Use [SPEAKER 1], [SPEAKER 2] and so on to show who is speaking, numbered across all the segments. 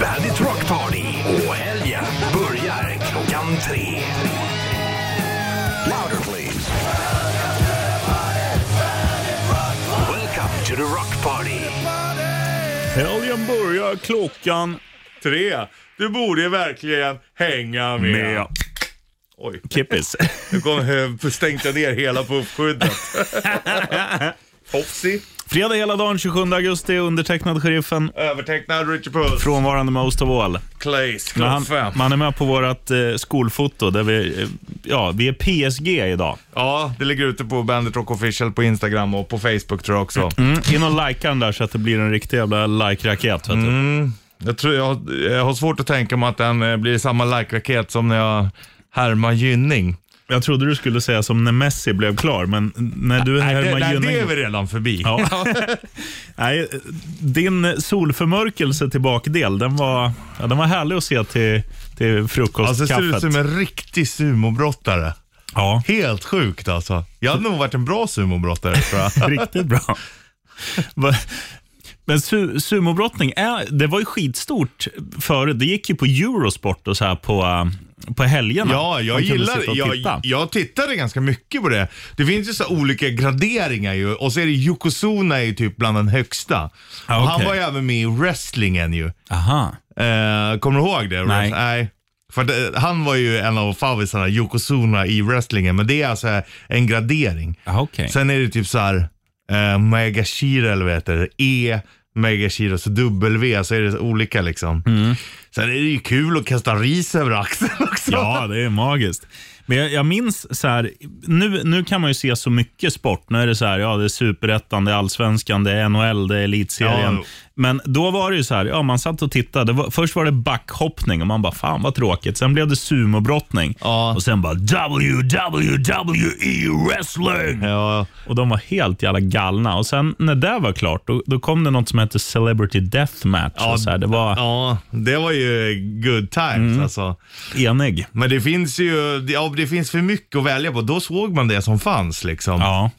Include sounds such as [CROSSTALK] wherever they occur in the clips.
[SPEAKER 1] Bandit Rock Party och helgen börjar klockan tre. Louder please. Welcome to the Rock Party.
[SPEAKER 2] Helgen börjar klockan
[SPEAKER 3] Tre. Du borde verkligen hänga med.
[SPEAKER 2] med
[SPEAKER 3] Oj,
[SPEAKER 2] Kippis.
[SPEAKER 3] nu kom, [LAUGHS] eh, stänkte jag ner hela
[SPEAKER 2] [LAUGHS]
[SPEAKER 3] puffskyddet. Topsy,
[SPEAKER 2] Fredag hela dagen 27 augusti, undertecknad sheriffen.
[SPEAKER 3] övertecknad Richard Puss,
[SPEAKER 2] Frånvarande most of all.
[SPEAKER 3] Clays,
[SPEAKER 2] Men
[SPEAKER 3] klockan fem.
[SPEAKER 2] man är med på vårt eh, skolfoto där vi, eh, ja, vi är PSG idag.
[SPEAKER 3] Ja, det ligger ute på Bandit Rock Official på Instagram och på Facebook tror jag också.
[SPEAKER 2] Mm. In och likea den där så att det blir en riktig jävla like-raket. Vet du.
[SPEAKER 3] Mm. Jag, tror jag, jag har svårt att tänka mig att den eh, blir samma like-raket som när jag härmar Gynning.
[SPEAKER 2] Jag trodde du skulle säga som när Messi blev klar, men när du
[SPEAKER 3] Eh, Nej, det,
[SPEAKER 2] härmar
[SPEAKER 3] nej, det
[SPEAKER 2] Gynning-
[SPEAKER 3] är vi redan förbi.
[SPEAKER 2] Ja. [LAUGHS] Nej, din solförmörkelse till bakdel, den var, ja, den var härlig att se till, till
[SPEAKER 3] Alltså, det ser
[SPEAKER 2] frukostkaffet.
[SPEAKER 3] ut som en riktig sumobrottare.
[SPEAKER 2] Ja,
[SPEAKER 3] Helt sjukt alltså. Jag hade nog varit en bra sumobrottare tror
[SPEAKER 2] [LAUGHS]
[SPEAKER 3] jag.
[SPEAKER 2] riktigt bra. Va- Men su sumobrottning, är, det var ju skitstort förut. Det gick ju på Eurosport och så här på, eh, på helgerna.
[SPEAKER 3] Ja, jag
[SPEAKER 2] Man kunde
[SPEAKER 3] gillar
[SPEAKER 2] sitta och titta.
[SPEAKER 3] jag, jag tittade ganska mycket på det. Det finns ju så olika graderingar ju och så är det Yokozuna är ju typ bland den högsta.
[SPEAKER 2] Ja,
[SPEAKER 3] Och Han
[SPEAKER 2] Ah, okej.
[SPEAKER 3] var ju även med i wrestlingen ju.
[SPEAKER 2] Aha.
[SPEAKER 3] Eh, kommer du ihåg det?
[SPEAKER 2] Nej.
[SPEAKER 3] Wrest- Nej. För det, han var ju en av favvisarna, Yokozuna, i wrestlingen. Men det är alltså en gradering.
[SPEAKER 2] Aha, Ah, okej.
[SPEAKER 3] Sen är det typ så här eh, Megashira eller vad heter det? E, Megashira, så W, så är det olika liksom.
[SPEAKER 2] Mm.
[SPEAKER 3] Sen är det ju kul att kasta ris över axeln också.
[SPEAKER 2] Ja, det är magiskt. Men jag, jag minns så här, nu, nu kan man ju se så mycket sport. Nu är det så här, ja det är superettan, det är allsvenskan, det är NHL, det är elitserien.
[SPEAKER 3] Ja.
[SPEAKER 2] Men då var det ju så här, ja man satt och tittade. Det var, först var det backhoppning och man bara, fan vad tråkigt. Sen blev det sumobrottning
[SPEAKER 3] Ja.
[SPEAKER 2] och sen bara WWE E wrestling.
[SPEAKER 3] [LAUGHS] Ja,
[SPEAKER 2] Och de var helt jävla galna. Och sen när det var klart, då, då kom det något som hette Celebrity Deathmatch. och så här, det var
[SPEAKER 3] ja, det var ju good times
[SPEAKER 2] Mm.
[SPEAKER 3] alltså.
[SPEAKER 2] enig.
[SPEAKER 3] Men det finns ju, ja, det finns för mycket att välja på. Då såg man det som fanns liksom.
[SPEAKER 2] Ja.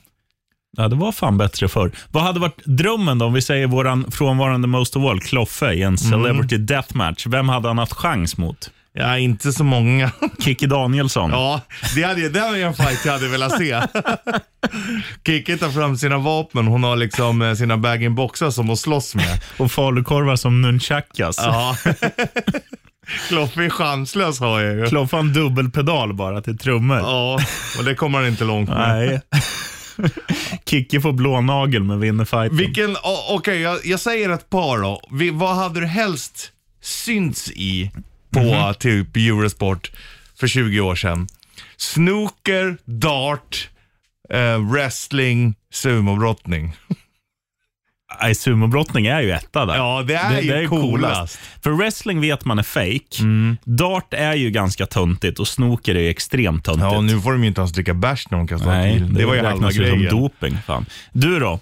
[SPEAKER 2] Ja, det var fan bättre förr. Vad hade varit drömmen då, om vi säger våran frånvarande Most of All, Kloffe, i en Celebrity Deathmatch? Vem hade han haft chans mot?
[SPEAKER 3] Ja, inte så många. [LAUGHS]
[SPEAKER 2] Kikki Danielsson?
[SPEAKER 3] Ja, det, hade, det var ju en fight jag hade velat se. [LAUGHS] Kikki tar fram sina vapen, hon har liksom eh, sina bag-in-boxar som hon
[SPEAKER 2] [LAUGHS]
[SPEAKER 3] slåss med.
[SPEAKER 2] Och falukorvar som nunchakas?
[SPEAKER 3] Ja. [LAUGHS] Kloffe är chanslös har jag ju.
[SPEAKER 2] Kloffe har en dubbelpedal bara till trummor.
[SPEAKER 3] Ja, och det kommer han inte långt
[SPEAKER 2] [LAUGHS]
[SPEAKER 3] med.
[SPEAKER 2] Nej. Kikki får blånagel men vinner fighten.
[SPEAKER 3] Vilken, o- okej jag, jag säger ett par då. Vi, vad hade du helst synts i på typ Eurosport för 20 år sedan? Snooker, dart, eh, wrestling, sumobrottning.
[SPEAKER 2] Nej, sumobrottning är ju etta där.
[SPEAKER 3] Ja, det är ju coolast.
[SPEAKER 2] För wrestling vet man är fake. Dart är ju ganska töntigt och snooker är ju extremt töntigt.
[SPEAKER 3] Ja, och nu får de ju inte ens dricka bärs när de kastar
[SPEAKER 2] Nej,
[SPEAKER 3] pil. Det, var ju halva
[SPEAKER 2] räknas ju
[SPEAKER 3] grejen.
[SPEAKER 2] som doping. Fan. Du då? Mm.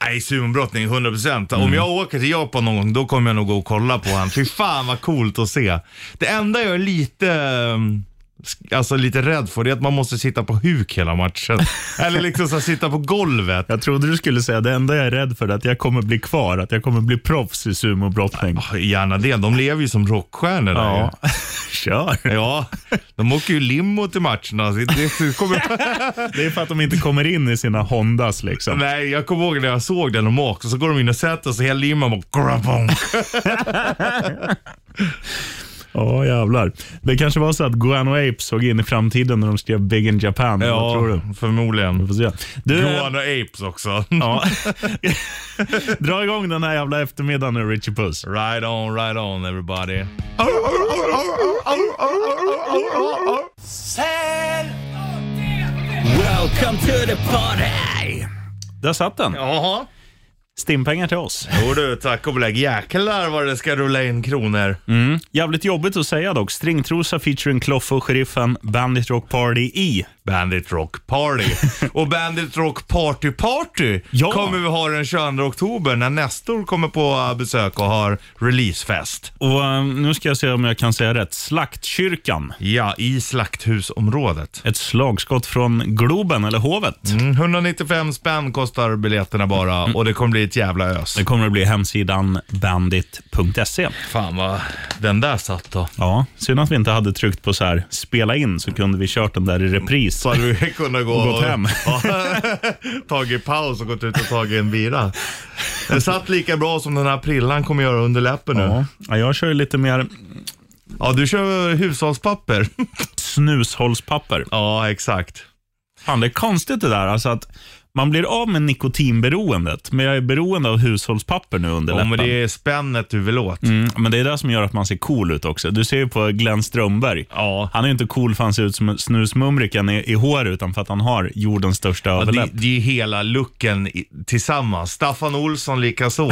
[SPEAKER 3] Nej, sumobrottning 100%. Om jag åker till Japan någon gång, då kommer jag nog gå och kolla på han. Fy fan vad coolt att se. Det enda jag är lite, ehm, sk- alltså lite rädd för, det är att man måste sitta på huk hela matchen.
[SPEAKER 2] [LAUGHS]
[SPEAKER 3] Eller liksom så här, sitta på golvet.
[SPEAKER 2] Jag trodde du skulle säga det enda jag är rädd för är att jag kommer bli kvar, att jag kommer bli proffs i sumobrottning.
[SPEAKER 3] Ah, Gärna det, de lever ju som rockstjärnor där ju.
[SPEAKER 2] Ja, [LAUGHS] kör.
[SPEAKER 3] Ja, de åker ju limo till matcherna. Det, det kommer...
[SPEAKER 2] [LAUGHS] Det är för att de inte kommer in i sina Hondas liksom.
[SPEAKER 3] Nej, jag kommer ihåg när jag såg den de åkte, så går de in och sätter sig, hela limman bara... grabong.
[SPEAKER 2] Ja, jävlar. Det kanske var så att Guano Apes såg in i framtiden när de skrev Big in Japan. Ja. Vad tror du?
[SPEAKER 3] förmodligen.
[SPEAKER 2] Vi får se. Du,
[SPEAKER 3] Johan och Apes också.
[SPEAKER 2] ja. [LAUGHS] dra igång den här jävla eftermiddagen nu, Richie Puss.
[SPEAKER 3] Right on, right on everybody.
[SPEAKER 2] Welcome to the party! Där satt den.
[SPEAKER 3] Jaha.
[SPEAKER 2] Stimpengar till oss.
[SPEAKER 3] Jo du, tack och belägg. Jäklar vad det ska rulla in kronor.
[SPEAKER 2] Jävligt jobbigt att säga dock. Stringtrosa featuring Kloffe och Sheriffen, Bandit Rock Party i.
[SPEAKER 3] Bandit Rock [LAUGHS] Party. och Bandit Rock Party Party
[SPEAKER 2] Ja.
[SPEAKER 3] kommer vi ha den 22 oktober när Nestor kommer på eh, besök och har releasefest.
[SPEAKER 2] Och eh, nu ska jag se om jag kan säga rätt. Slaktkyrkan.
[SPEAKER 3] Ja, i Slakthusområdet.
[SPEAKER 2] Ett slagskott från Globen, eller Hovet.
[SPEAKER 3] Mm, 195 spänn kostar biljetterna bara och det kommer bli ett jävla ös.
[SPEAKER 2] Det kommer att bli hemsidan bandit.se.
[SPEAKER 3] Fan vad den där satt då.
[SPEAKER 2] Ja, synd att vi inte hade tryckt på så här spela in så kunde vi kört den där i repris.
[SPEAKER 3] Så hade vi [LAUGHS] kunnat gå
[SPEAKER 2] Och gått hem.
[SPEAKER 3] Ja, tagit paus och gått ut och tagit en bira. Den satt lika bra som den här prillan kommer göra under läppen nu. Ja,
[SPEAKER 2] Ja, Ja, jag kör ju lite mer
[SPEAKER 3] du kör hushållspapper.
[SPEAKER 2] snushållspapper.
[SPEAKER 3] ja, exakt.
[SPEAKER 2] Fan, det är konstigt det där. Alltså att man blir av med nikotinberoendet, men jag är beroende av hushållspapper nu under
[SPEAKER 3] Ja,
[SPEAKER 2] läppen.
[SPEAKER 3] men det är spännet du vill åt.
[SPEAKER 2] Mm, men det är det som gör att man ser cool ut också. Du ser ju på Glenn Strömberg.
[SPEAKER 3] Ja.
[SPEAKER 2] Han är ju inte cool för han ser ut som en snusmumriken i, i hår utan för att han har jordens största
[SPEAKER 3] Ja, Det,
[SPEAKER 2] överläpp.
[SPEAKER 3] det är ju hela looken i, tillsammans. Staffan
[SPEAKER 2] [LAUGHS]
[SPEAKER 3] Olsson likaså.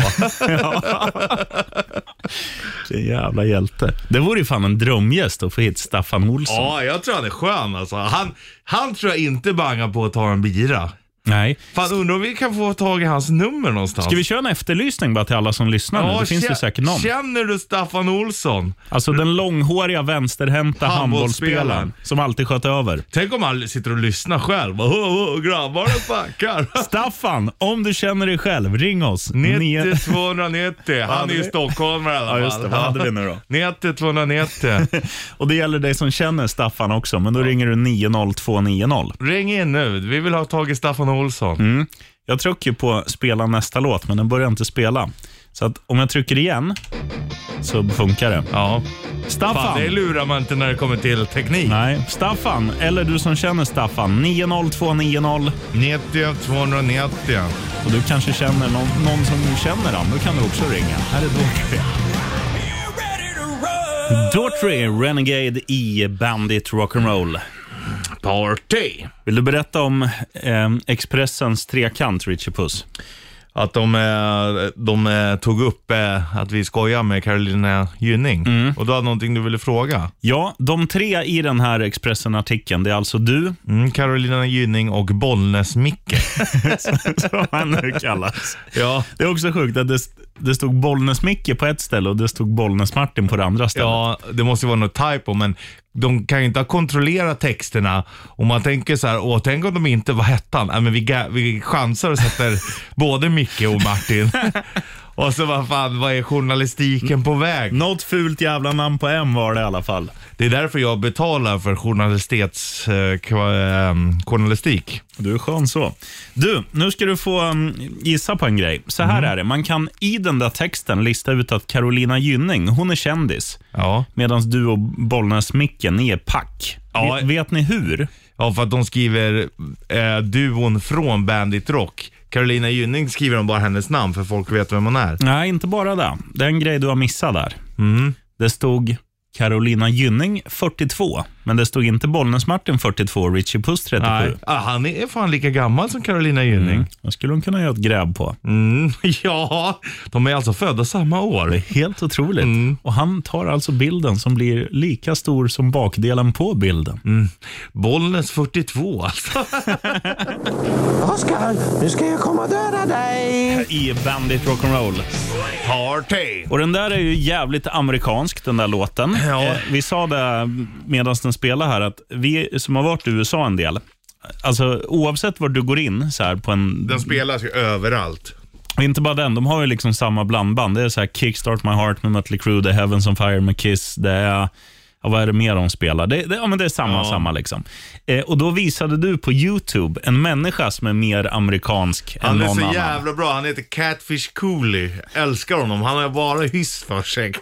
[SPEAKER 2] Vilken jävla hjälte. Det vore ju fan en drömgäst att få hit Staffan Olsson.
[SPEAKER 3] ja, jag tror han är skön alltså. Han, han tror jag inte bangar på att ta en bira.
[SPEAKER 2] Nej.
[SPEAKER 3] Fan, undrar om vi kan få tag i hans nummer någonstans.
[SPEAKER 2] Ska vi köra en efterlysning bara till alla som lyssnar nu? Det finns
[SPEAKER 3] kä-
[SPEAKER 2] ju säkert någon.
[SPEAKER 3] Känner du Staffan Olsson?
[SPEAKER 2] Alltså den långhåriga vänsterhänta
[SPEAKER 3] Handbollsspelaren.
[SPEAKER 2] handbollsspelaren som alltid sköt över.
[SPEAKER 3] Tänk om han sitter och lyssnar själv. Oh, oh, grabbarna snackar.
[SPEAKER 2] Staffan, om du känner dig själv, ring oss. [LAUGHS] Nio-
[SPEAKER 3] 90 290. Han är ju
[SPEAKER 2] det-
[SPEAKER 3] stockholmare i alla
[SPEAKER 2] Ja,
[SPEAKER 3] fall.
[SPEAKER 2] just det. Vad hade vi nu då?
[SPEAKER 3] 90 290.
[SPEAKER 2] Och det gäller dig som känner Staffan också, men då ringer du 90290.
[SPEAKER 3] Ring in nu. Vi vill ha tag i Staffan Olsson.
[SPEAKER 2] Mm. Jag trycker på spela nästa låt, men den börjar inte spela. Så att om jag trycker igen så funkar det.
[SPEAKER 3] Ja. Fan,
[SPEAKER 2] Staffan!
[SPEAKER 3] det lurar man inte när det kommer till teknik.
[SPEAKER 2] Nej, Staffan, eller du som känner Staffan, 90290.
[SPEAKER 3] 90 290.
[SPEAKER 2] Och du kanske känner någon, någon som du känner han, då kan du också ringa. Här är Daughtry. Daughtry, Renegade i Bandit Rock'n'Roll.
[SPEAKER 3] Party.
[SPEAKER 2] Vill du berätta om eh, Expressens trekant, Richie Puss?
[SPEAKER 3] Att de, eh, de eh, tog upp eh, att vi skojar med Carolina Gynning.
[SPEAKER 2] Mm.
[SPEAKER 3] Och du hade någonting du ville fråga.
[SPEAKER 2] Ja, de tre i den här Expressen-artikeln, det är alltså du, [LAUGHS]
[SPEAKER 3] Mm, Carolina Gynning och Bollnäs-Micke.
[SPEAKER 2] som han nu kallas.
[SPEAKER 3] ja.
[SPEAKER 2] Det är också sjukt att det, det stod Bollnäs-Micke på ett ställe och det stod Bollnäs-Martin på det andra stället.
[SPEAKER 3] Ja, det måste ju vara något typo, men de kan ju inte ha kontrollerat texterna. Och man tänker så här, åh, tänk om de inte, vad hette han? Nej, men vi, ga- vi chansar och sätter både Micke och Martin. [LAUGHS] och så vad fan, vad är journalistiken på väg?
[SPEAKER 2] Något fult jävla namn på M var det i alla fall.
[SPEAKER 3] Det är därför jag betalar för journalistets, eh, kva- eh, journalistik.
[SPEAKER 2] Du är skön så. Du, nu ska du få um, gissa på en grej. Så här
[SPEAKER 3] Mm.
[SPEAKER 2] är det, man kan i den där texten lista ut att Carolina Gynning, hon är kändis.
[SPEAKER 3] Ja.
[SPEAKER 2] Medan du och Bollnäs-Micke, ni är pack.
[SPEAKER 3] Ja.
[SPEAKER 2] Vet, vet ni hur?
[SPEAKER 3] ja, för att de skriver eh, duon från Bandit Rock. Carolina Gynning skriver de bara hennes namn för folk vet vem hon är.
[SPEAKER 2] Nej, inte bara det. Det är en grej du har missat där.
[SPEAKER 3] Mm.
[SPEAKER 2] Det stod Carolina Gynning 42, men det stod inte Bollnäs-Martin 42 och Richie Puss 37.
[SPEAKER 3] Nej. Ah, han är fan lika gammal som Carolina Gynning.
[SPEAKER 2] Det skulle hon kunna göra ett gräv på.
[SPEAKER 3] Mm, [LAUGHS] ja, de är alltså födda samma år.
[SPEAKER 2] Helt otroligt.
[SPEAKER 3] Mm.
[SPEAKER 2] Och Han tar alltså bilden som blir lika stor som bakdelen på bilden.
[SPEAKER 3] Mm. Bollnäs 42 alltså.
[SPEAKER 4] Oskar, nu ska jag komma och döda dig!
[SPEAKER 2] I Bandit Rock'n'Roll.
[SPEAKER 3] Party!
[SPEAKER 2] Och den där är ju jävligt amerikansk, den där låten.
[SPEAKER 3] Ja.
[SPEAKER 2] Eh, Vi sa det medan den spelade här, att vi som har varit i USA en del, alltså oavsett var du går in så här på en...
[SPEAKER 3] Den spelas ju överallt.
[SPEAKER 2] Inte bara den, de har ju liksom samma blandband. Det är så här Kickstart My Heart med Mötley Crüe, det är Heavens on Fire med Kiss, det är... Ja, vad är det mer de spelar? Det, det, ja, men det är samma, samma liksom. Eh, och då visade du på YouTube en människa som är mer amerikansk än
[SPEAKER 3] Han är
[SPEAKER 2] någon
[SPEAKER 3] så
[SPEAKER 2] annan.
[SPEAKER 3] jävla bra. Han heter Catfish Cooley. Älskar honom. Han har bara hyss för sig.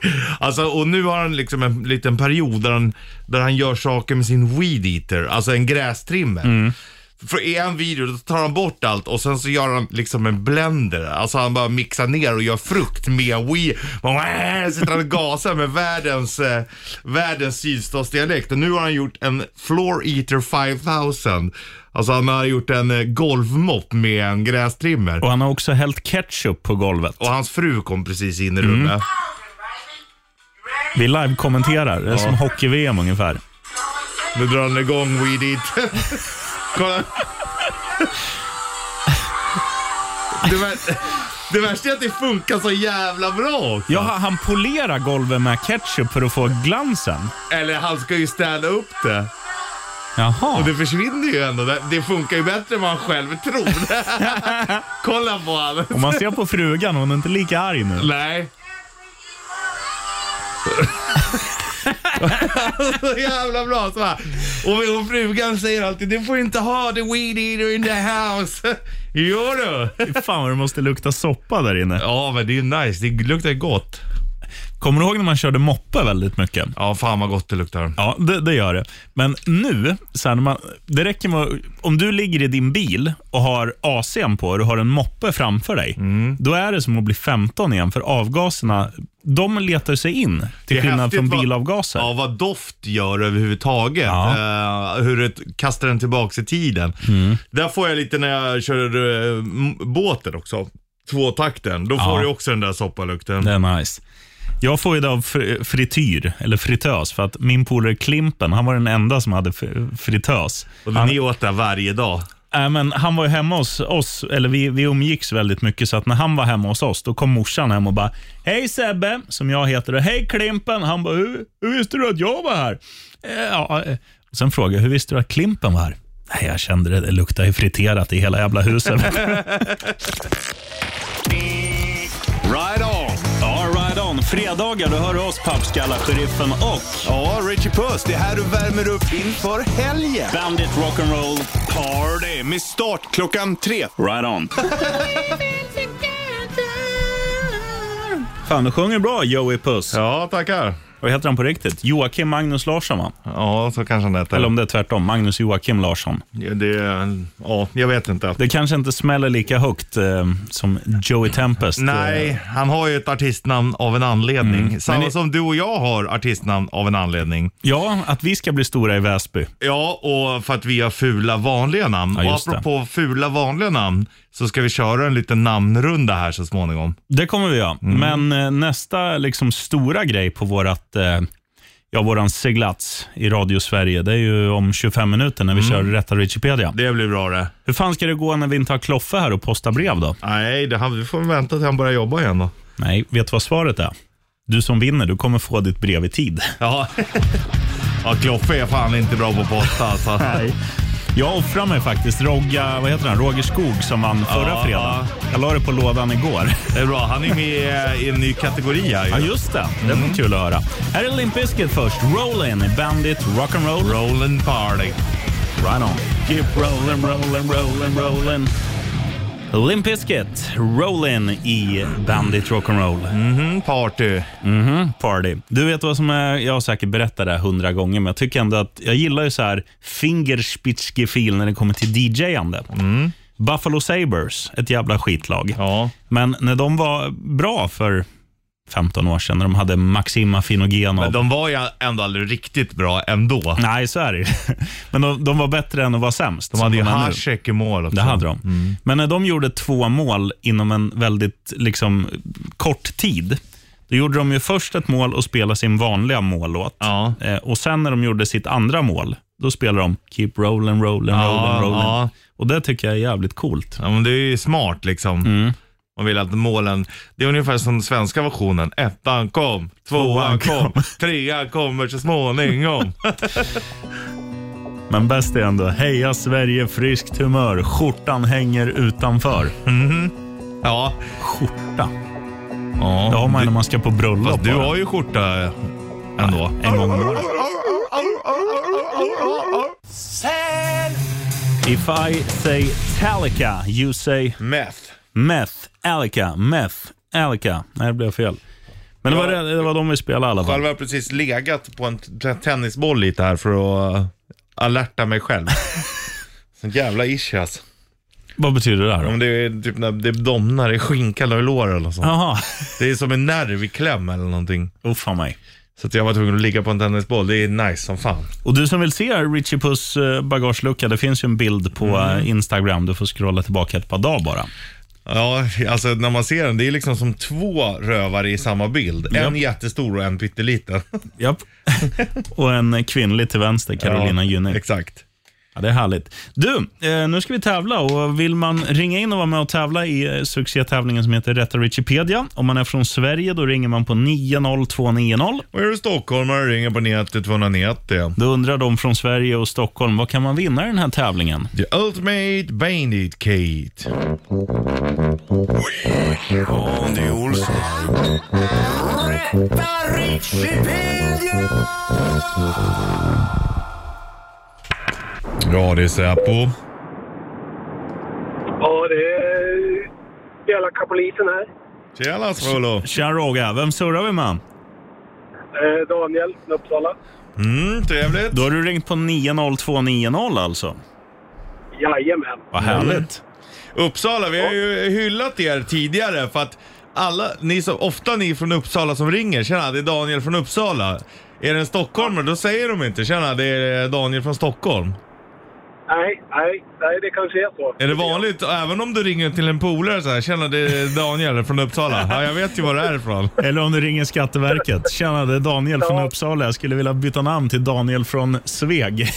[SPEAKER 3] Alltså, och nu har han liksom en liten period där han, där han gör saker med sin weed eater, alltså en grästrimmer. För i en video då tar han bort allt och sen så gör han liksom en blender. Alltså han bara mixar ner och gör frukt med weed. Man bara, äh, sitter han och gasar med världens, eh, världens sydstatsdialekt. Och nu har han gjort en Floor Eater 5000. Alltså han har gjort en eh, golvmopp med en grästrimmer.
[SPEAKER 2] Och han har också hällt ketchup på golvet.
[SPEAKER 3] Och hans fru kom precis in i rummet.
[SPEAKER 2] Vi live-kommenterar. Det är som hockey-VM ungefär.
[SPEAKER 3] Nu drar han igång Weed Eat. Kolla. Det, vär, det värsta är att det funkar så jävla bra också.
[SPEAKER 2] Ja, han polerar golvet med ketchup för att få glansen.
[SPEAKER 3] Eller han ska ju städa upp det.
[SPEAKER 2] Jaha.
[SPEAKER 3] Och det försvinner ju ändå. Det- Det funkar ju bättre än man själv tror. [LAUGHS] Kolla på han.
[SPEAKER 2] Om man ser på frugan, hon är inte lika arg nu.
[SPEAKER 3] Nej. [LAUGHS] Så jävla bra. Så här. och, och frugan säger alltid, du får inte ha the weed eater in the house. [LAUGHS] jo du.
[SPEAKER 2] Fan vad det måste lukta soppa där inne.
[SPEAKER 3] Ja men det är ju nice, det luktar ju gott.
[SPEAKER 2] Kommer du ihåg när man körde moppe väldigt mycket?
[SPEAKER 3] Ja fan vad gott det luktar.
[SPEAKER 2] Ja, det, det gör det. Men nu, så här, när man, det räcker med att- om du ligger i din bil och har AC'n på och du har en moppe framför dig,
[SPEAKER 3] Mm.
[SPEAKER 2] då är det som att bli 15 igen, för avgaserna de letar sig in, till
[SPEAKER 3] Det är
[SPEAKER 2] skillnad
[SPEAKER 3] häftigt
[SPEAKER 2] från
[SPEAKER 3] vad-
[SPEAKER 2] bilavgaser.
[SPEAKER 3] Ja, vad doft gör överhuvudtaget.
[SPEAKER 2] Ja. Mm.
[SPEAKER 3] Eh, hur det kastar den tillbaka i tiden. Där får jag lite när jag kör uh, båten också. Tvåtakten. Då får du också den där soppalukten.
[SPEAKER 2] Det är nice. Jag får ju det av fr- frityr, eller fritös, för att min polare Klimpen, han var den enda som hade fr- fritös.
[SPEAKER 3] Och ni åt det varje dag.
[SPEAKER 2] Äh, men han var ju hemma hos oss, eller vi, vi umgicks väldigt mycket, så att när han var hemma hos oss, då kom morsan hem och bara Hej Sebbe, som jag heter, och hej Klimpen. Han bara, hur, hur visste du att jag var här? Eh, ja, eh. Och sen frågade jag, hur visste du att Klimpen var här? Nej, jag kände det, det luktade ju friterat i hela jävla huset.
[SPEAKER 1] Right on!
[SPEAKER 2] ja, right on. Fredagar, då hör du oss, pappskallar, sheriffen och
[SPEAKER 1] Ja, Richie Puss, det är här du värmer upp inför helgen.
[SPEAKER 2] Bandit Rock'n'Roll
[SPEAKER 1] Party med start klockan tre.
[SPEAKER 2] Right on. Fan, du sjunger bra Joey Puss.
[SPEAKER 3] Ja, tackar.
[SPEAKER 2] Vad heter han på riktigt? Joakim Magnus Larsson, va?
[SPEAKER 3] Ja, så kanske han heter.
[SPEAKER 2] Eller om det är tvärtom, Magnus Joakim Larsson.
[SPEAKER 3] Ja, det, ja, jag vet inte.
[SPEAKER 2] Det kanske inte smäller lika högt eh, som Joey Tempest. Eh,
[SPEAKER 3] Nej, han har ju ett artistnamn av en anledning. Samma
[SPEAKER 2] Mm. Men i-
[SPEAKER 3] som du och jag har artistnamn av en anledning.
[SPEAKER 2] Ja, att vi ska bli stora i Väsby.
[SPEAKER 3] Ja, och för att vi har fula vanliga namn.
[SPEAKER 2] Ja,
[SPEAKER 3] och
[SPEAKER 2] just det.
[SPEAKER 3] apropå fula vanliga namn så ska vi köra en liten namnrunda här så småningom.
[SPEAKER 2] Det kommer vi göra.
[SPEAKER 3] Mm.
[SPEAKER 2] Men eh, nästa liksom, stora grej på vårat, eh, ja, våran seglats i Radio Sverige, det är ju om 25 minuter när vi
[SPEAKER 3] Mm.
[SPEAKER 2] kör Rätta Wikipedia.
[SPEAKER 3] Det blir bra det.
[SPEAKER 2] Hur fan ska det gå när vi inte har Kloffe här och postar brev då?
[SPEAKER 3] Nej, det, han, vi får vänta tills han börjar jobba igen då.
[SPEAKER 2] Nej, vet du vad svaret är? Du som vinner, du kommer få ditt brev i tid.
[SPEAKER 3] Ja, [LAUGHS] ja Kloffe är fan inte bra på att posta alltså.
[SPEAKER 2] Jag offrar mig faktiskt. Rogga, vad heter han? Roger Skog som vann förra
[SPEAKER 3] Ja.
[SPEAKER 2] fredagen. Jag la det på lådan igår.
[SPEAKER 3] Det är bra, han är med eh, i en ny kategori här
[SPEAKER 2] [LAUGHS] Ja,
[SPEAKER 3] ju.
[SPEAKER 2] just det. Det var kul att höra. Här är Limp Bizkit först. Rollin' i Bandit Rock'n'Roll.
[SPEAKER 3] Rollin' party.
[SPEAKER 2] Right on. Keep rollin', rollin', rollin', rollin'. Limp Bizkit, Rollin' i Bandit Rock'n'Roll.
[SPEAKER 3] Mm, party.
[SPEAKER 2] Party. Du vet vad som är, jag har säkert berättat det här hundra gånger, men jag tycker ändå att jag gillar ju så här fingerspitzgefühl när det kommer till DJ-ande. Buffalo Sabres, ett jävla skitlag.
[SPEAKER 3] Ja.
[SPEAKER 2] Men när de var bra för 15 år sedan, när de hade Maxima Finogenov.
[SPEAKER 3] Men de var ju ändå aldrig riktigt bra ändå.
[SPEAKER 2] Nej, så är det ju. [LAUGHS] Men de, de var bättre än att vara sämst.
[SPEAKER 3] De Mm. hade ju
[SPEAKER 2] som är nu.
[SPEAKER 3] Hasek i mål också.
[SPEAKER 2] Det hade de. Men när de gjorde två mål inom en väldigt liksom, kort tid, då gjorde de ju först ett mål och spelade sin vanliga mållåt.
[SPEAKER 3] Ja.
[SPEAKER 2] Eh, och sen när de gjorde sitt andra mål, då spelade de Keep rolling, rolling,
[SPEAKER 3] Ja,
[SPEAKER 2] rolling, rolling.
[SPEAKER 3] ja.
[SPEAKER 2] Och det tycker jag är jävligt coolt.
[SPEAKER 3] Ja, men det är ju smart liksom. Man vill att målen, det är ungefär som svenska versionen. Ettan kom, tvåan kom, trean kommer så [LAUGHS] småningom.
[SPEAKER 2] Men bäst är ändå, heja Sverige, friskt humör, skjortan hänger utanför.
[SPEAKER 3] Ja.
[SPEAKER 2] Skjorta, det har
[SPEAKER 3] ja.
[SPEAKER 2] man när man ska på bröllop.
[SPEAKER 3] Fast du
[SPEAKER 2] bara.
[SPEAKER 3] har ju skjorta ändå.
[SPEAKER 2] en gång om året. If I say Talica, you say
[SPEAKER 3] Meth.
[SPEAKER 2] Meth, Alica, Meth, Alica. Nej, det blev fel. Men det var, det, det var de vi spelade i alla fall.
[SPEAKER 3] Själv har jag precis legat på en t- tennisboll lite här för att eh, alerta mig [LAUGHS] själv. Sån jävla ish alltså.
[SPEAKER 2] Vad betyder det här
[SPEAKER 3] Ja,
[SPEAKER 2] då?
[SPEAKER 3] men Det är typ när det domnar i skinkan och i lår eller så.
[SPEAKER 2] Jaha,
[SPEAKER 3] Det är som en nerv i kläm eller någonting.
[SPEAKER 2] uffa mig.
[SPEAKER 3] Så att jag var tvungen att ligga på en tennisboll. Det är nice som fan.
[SPEAKER 2] Och du som vill se Richie Puss eh, bagagelucka, det finns ju en bild på eh, Instagram. Du får scrolla tillbaka ett par dagar bara.
[SPEAKER 3] Ja, alltså när man ser den, det är liksom som två rövare i samma bild. En jättestor och en [LAUGHS] pytteliten.
[SPEAKER 2] [LAUGHS] Japp. Och en kvinnlig till vänster, Carolina Gynning.
[SPEAKER 3] Exakt.
[SPEAKER 2] Ja, det är härligt. Du, eh, nu ska vi tävla och vill man ringa in och vara med och tävla i eh, succétävlingen som heter Rätta Wikipedia. Om man är från Sverige då ringer man på 90290.
[SPEAKER 3] Och är du stockholmare ringer på 90 290.
[SPEAKER 2] Då undrar de från Sverige och Stockholm, vad kan man vinna i den här tävlingen?
[SPEAKER 3] The Ultimate Bandit Kate.
[SPEAKER 1] Andy Olsson. Rätta Richipedia!
[SPEAKER 3] Ja, det är Säpo.
[SPEAKER 5] Ja, det är elaka polisen här.
[SPEAKER 3] Tjena Svolo.
[SPEAKER 2] Tja Roga, vem surrar vi med?
[SPEAKER 5] Eh, Daniel från Uppsala.
[SPEAKER 3] Mm, trevligt.
[SPEAKER 2] Då har du ringt på 90290 alltså.
[SPEAKER 5] Jajamän.
[SPEAKER 2] Vad
[SPEAKER 3] Mm.
[SPEAKER 2] härligt.
[SPEAKER 3] Uppsala, vi har ju hyllat er tidigare för att alla, ni som, ofta ni från Uppsala som ringer, tjena det är Daniel från Uppsala. Är det en stockholmare då säger de inte tjena det är Daniel från Stockholm.
[SPEAKER 5] Nej, nej, nej, det kanske är så.
[SPEAKER 3] Är det vanligt, även om du ringer till en polare så här, tjena det är Daniel från Uppsala. Ja jag vet ju var du är ifrån.
[SPEAKER 2] Eller om du ringer Skatteverket. Tjena, det är Daniel från Uppsala. Jag skulle vilja byta namn till Daniel från Sveg.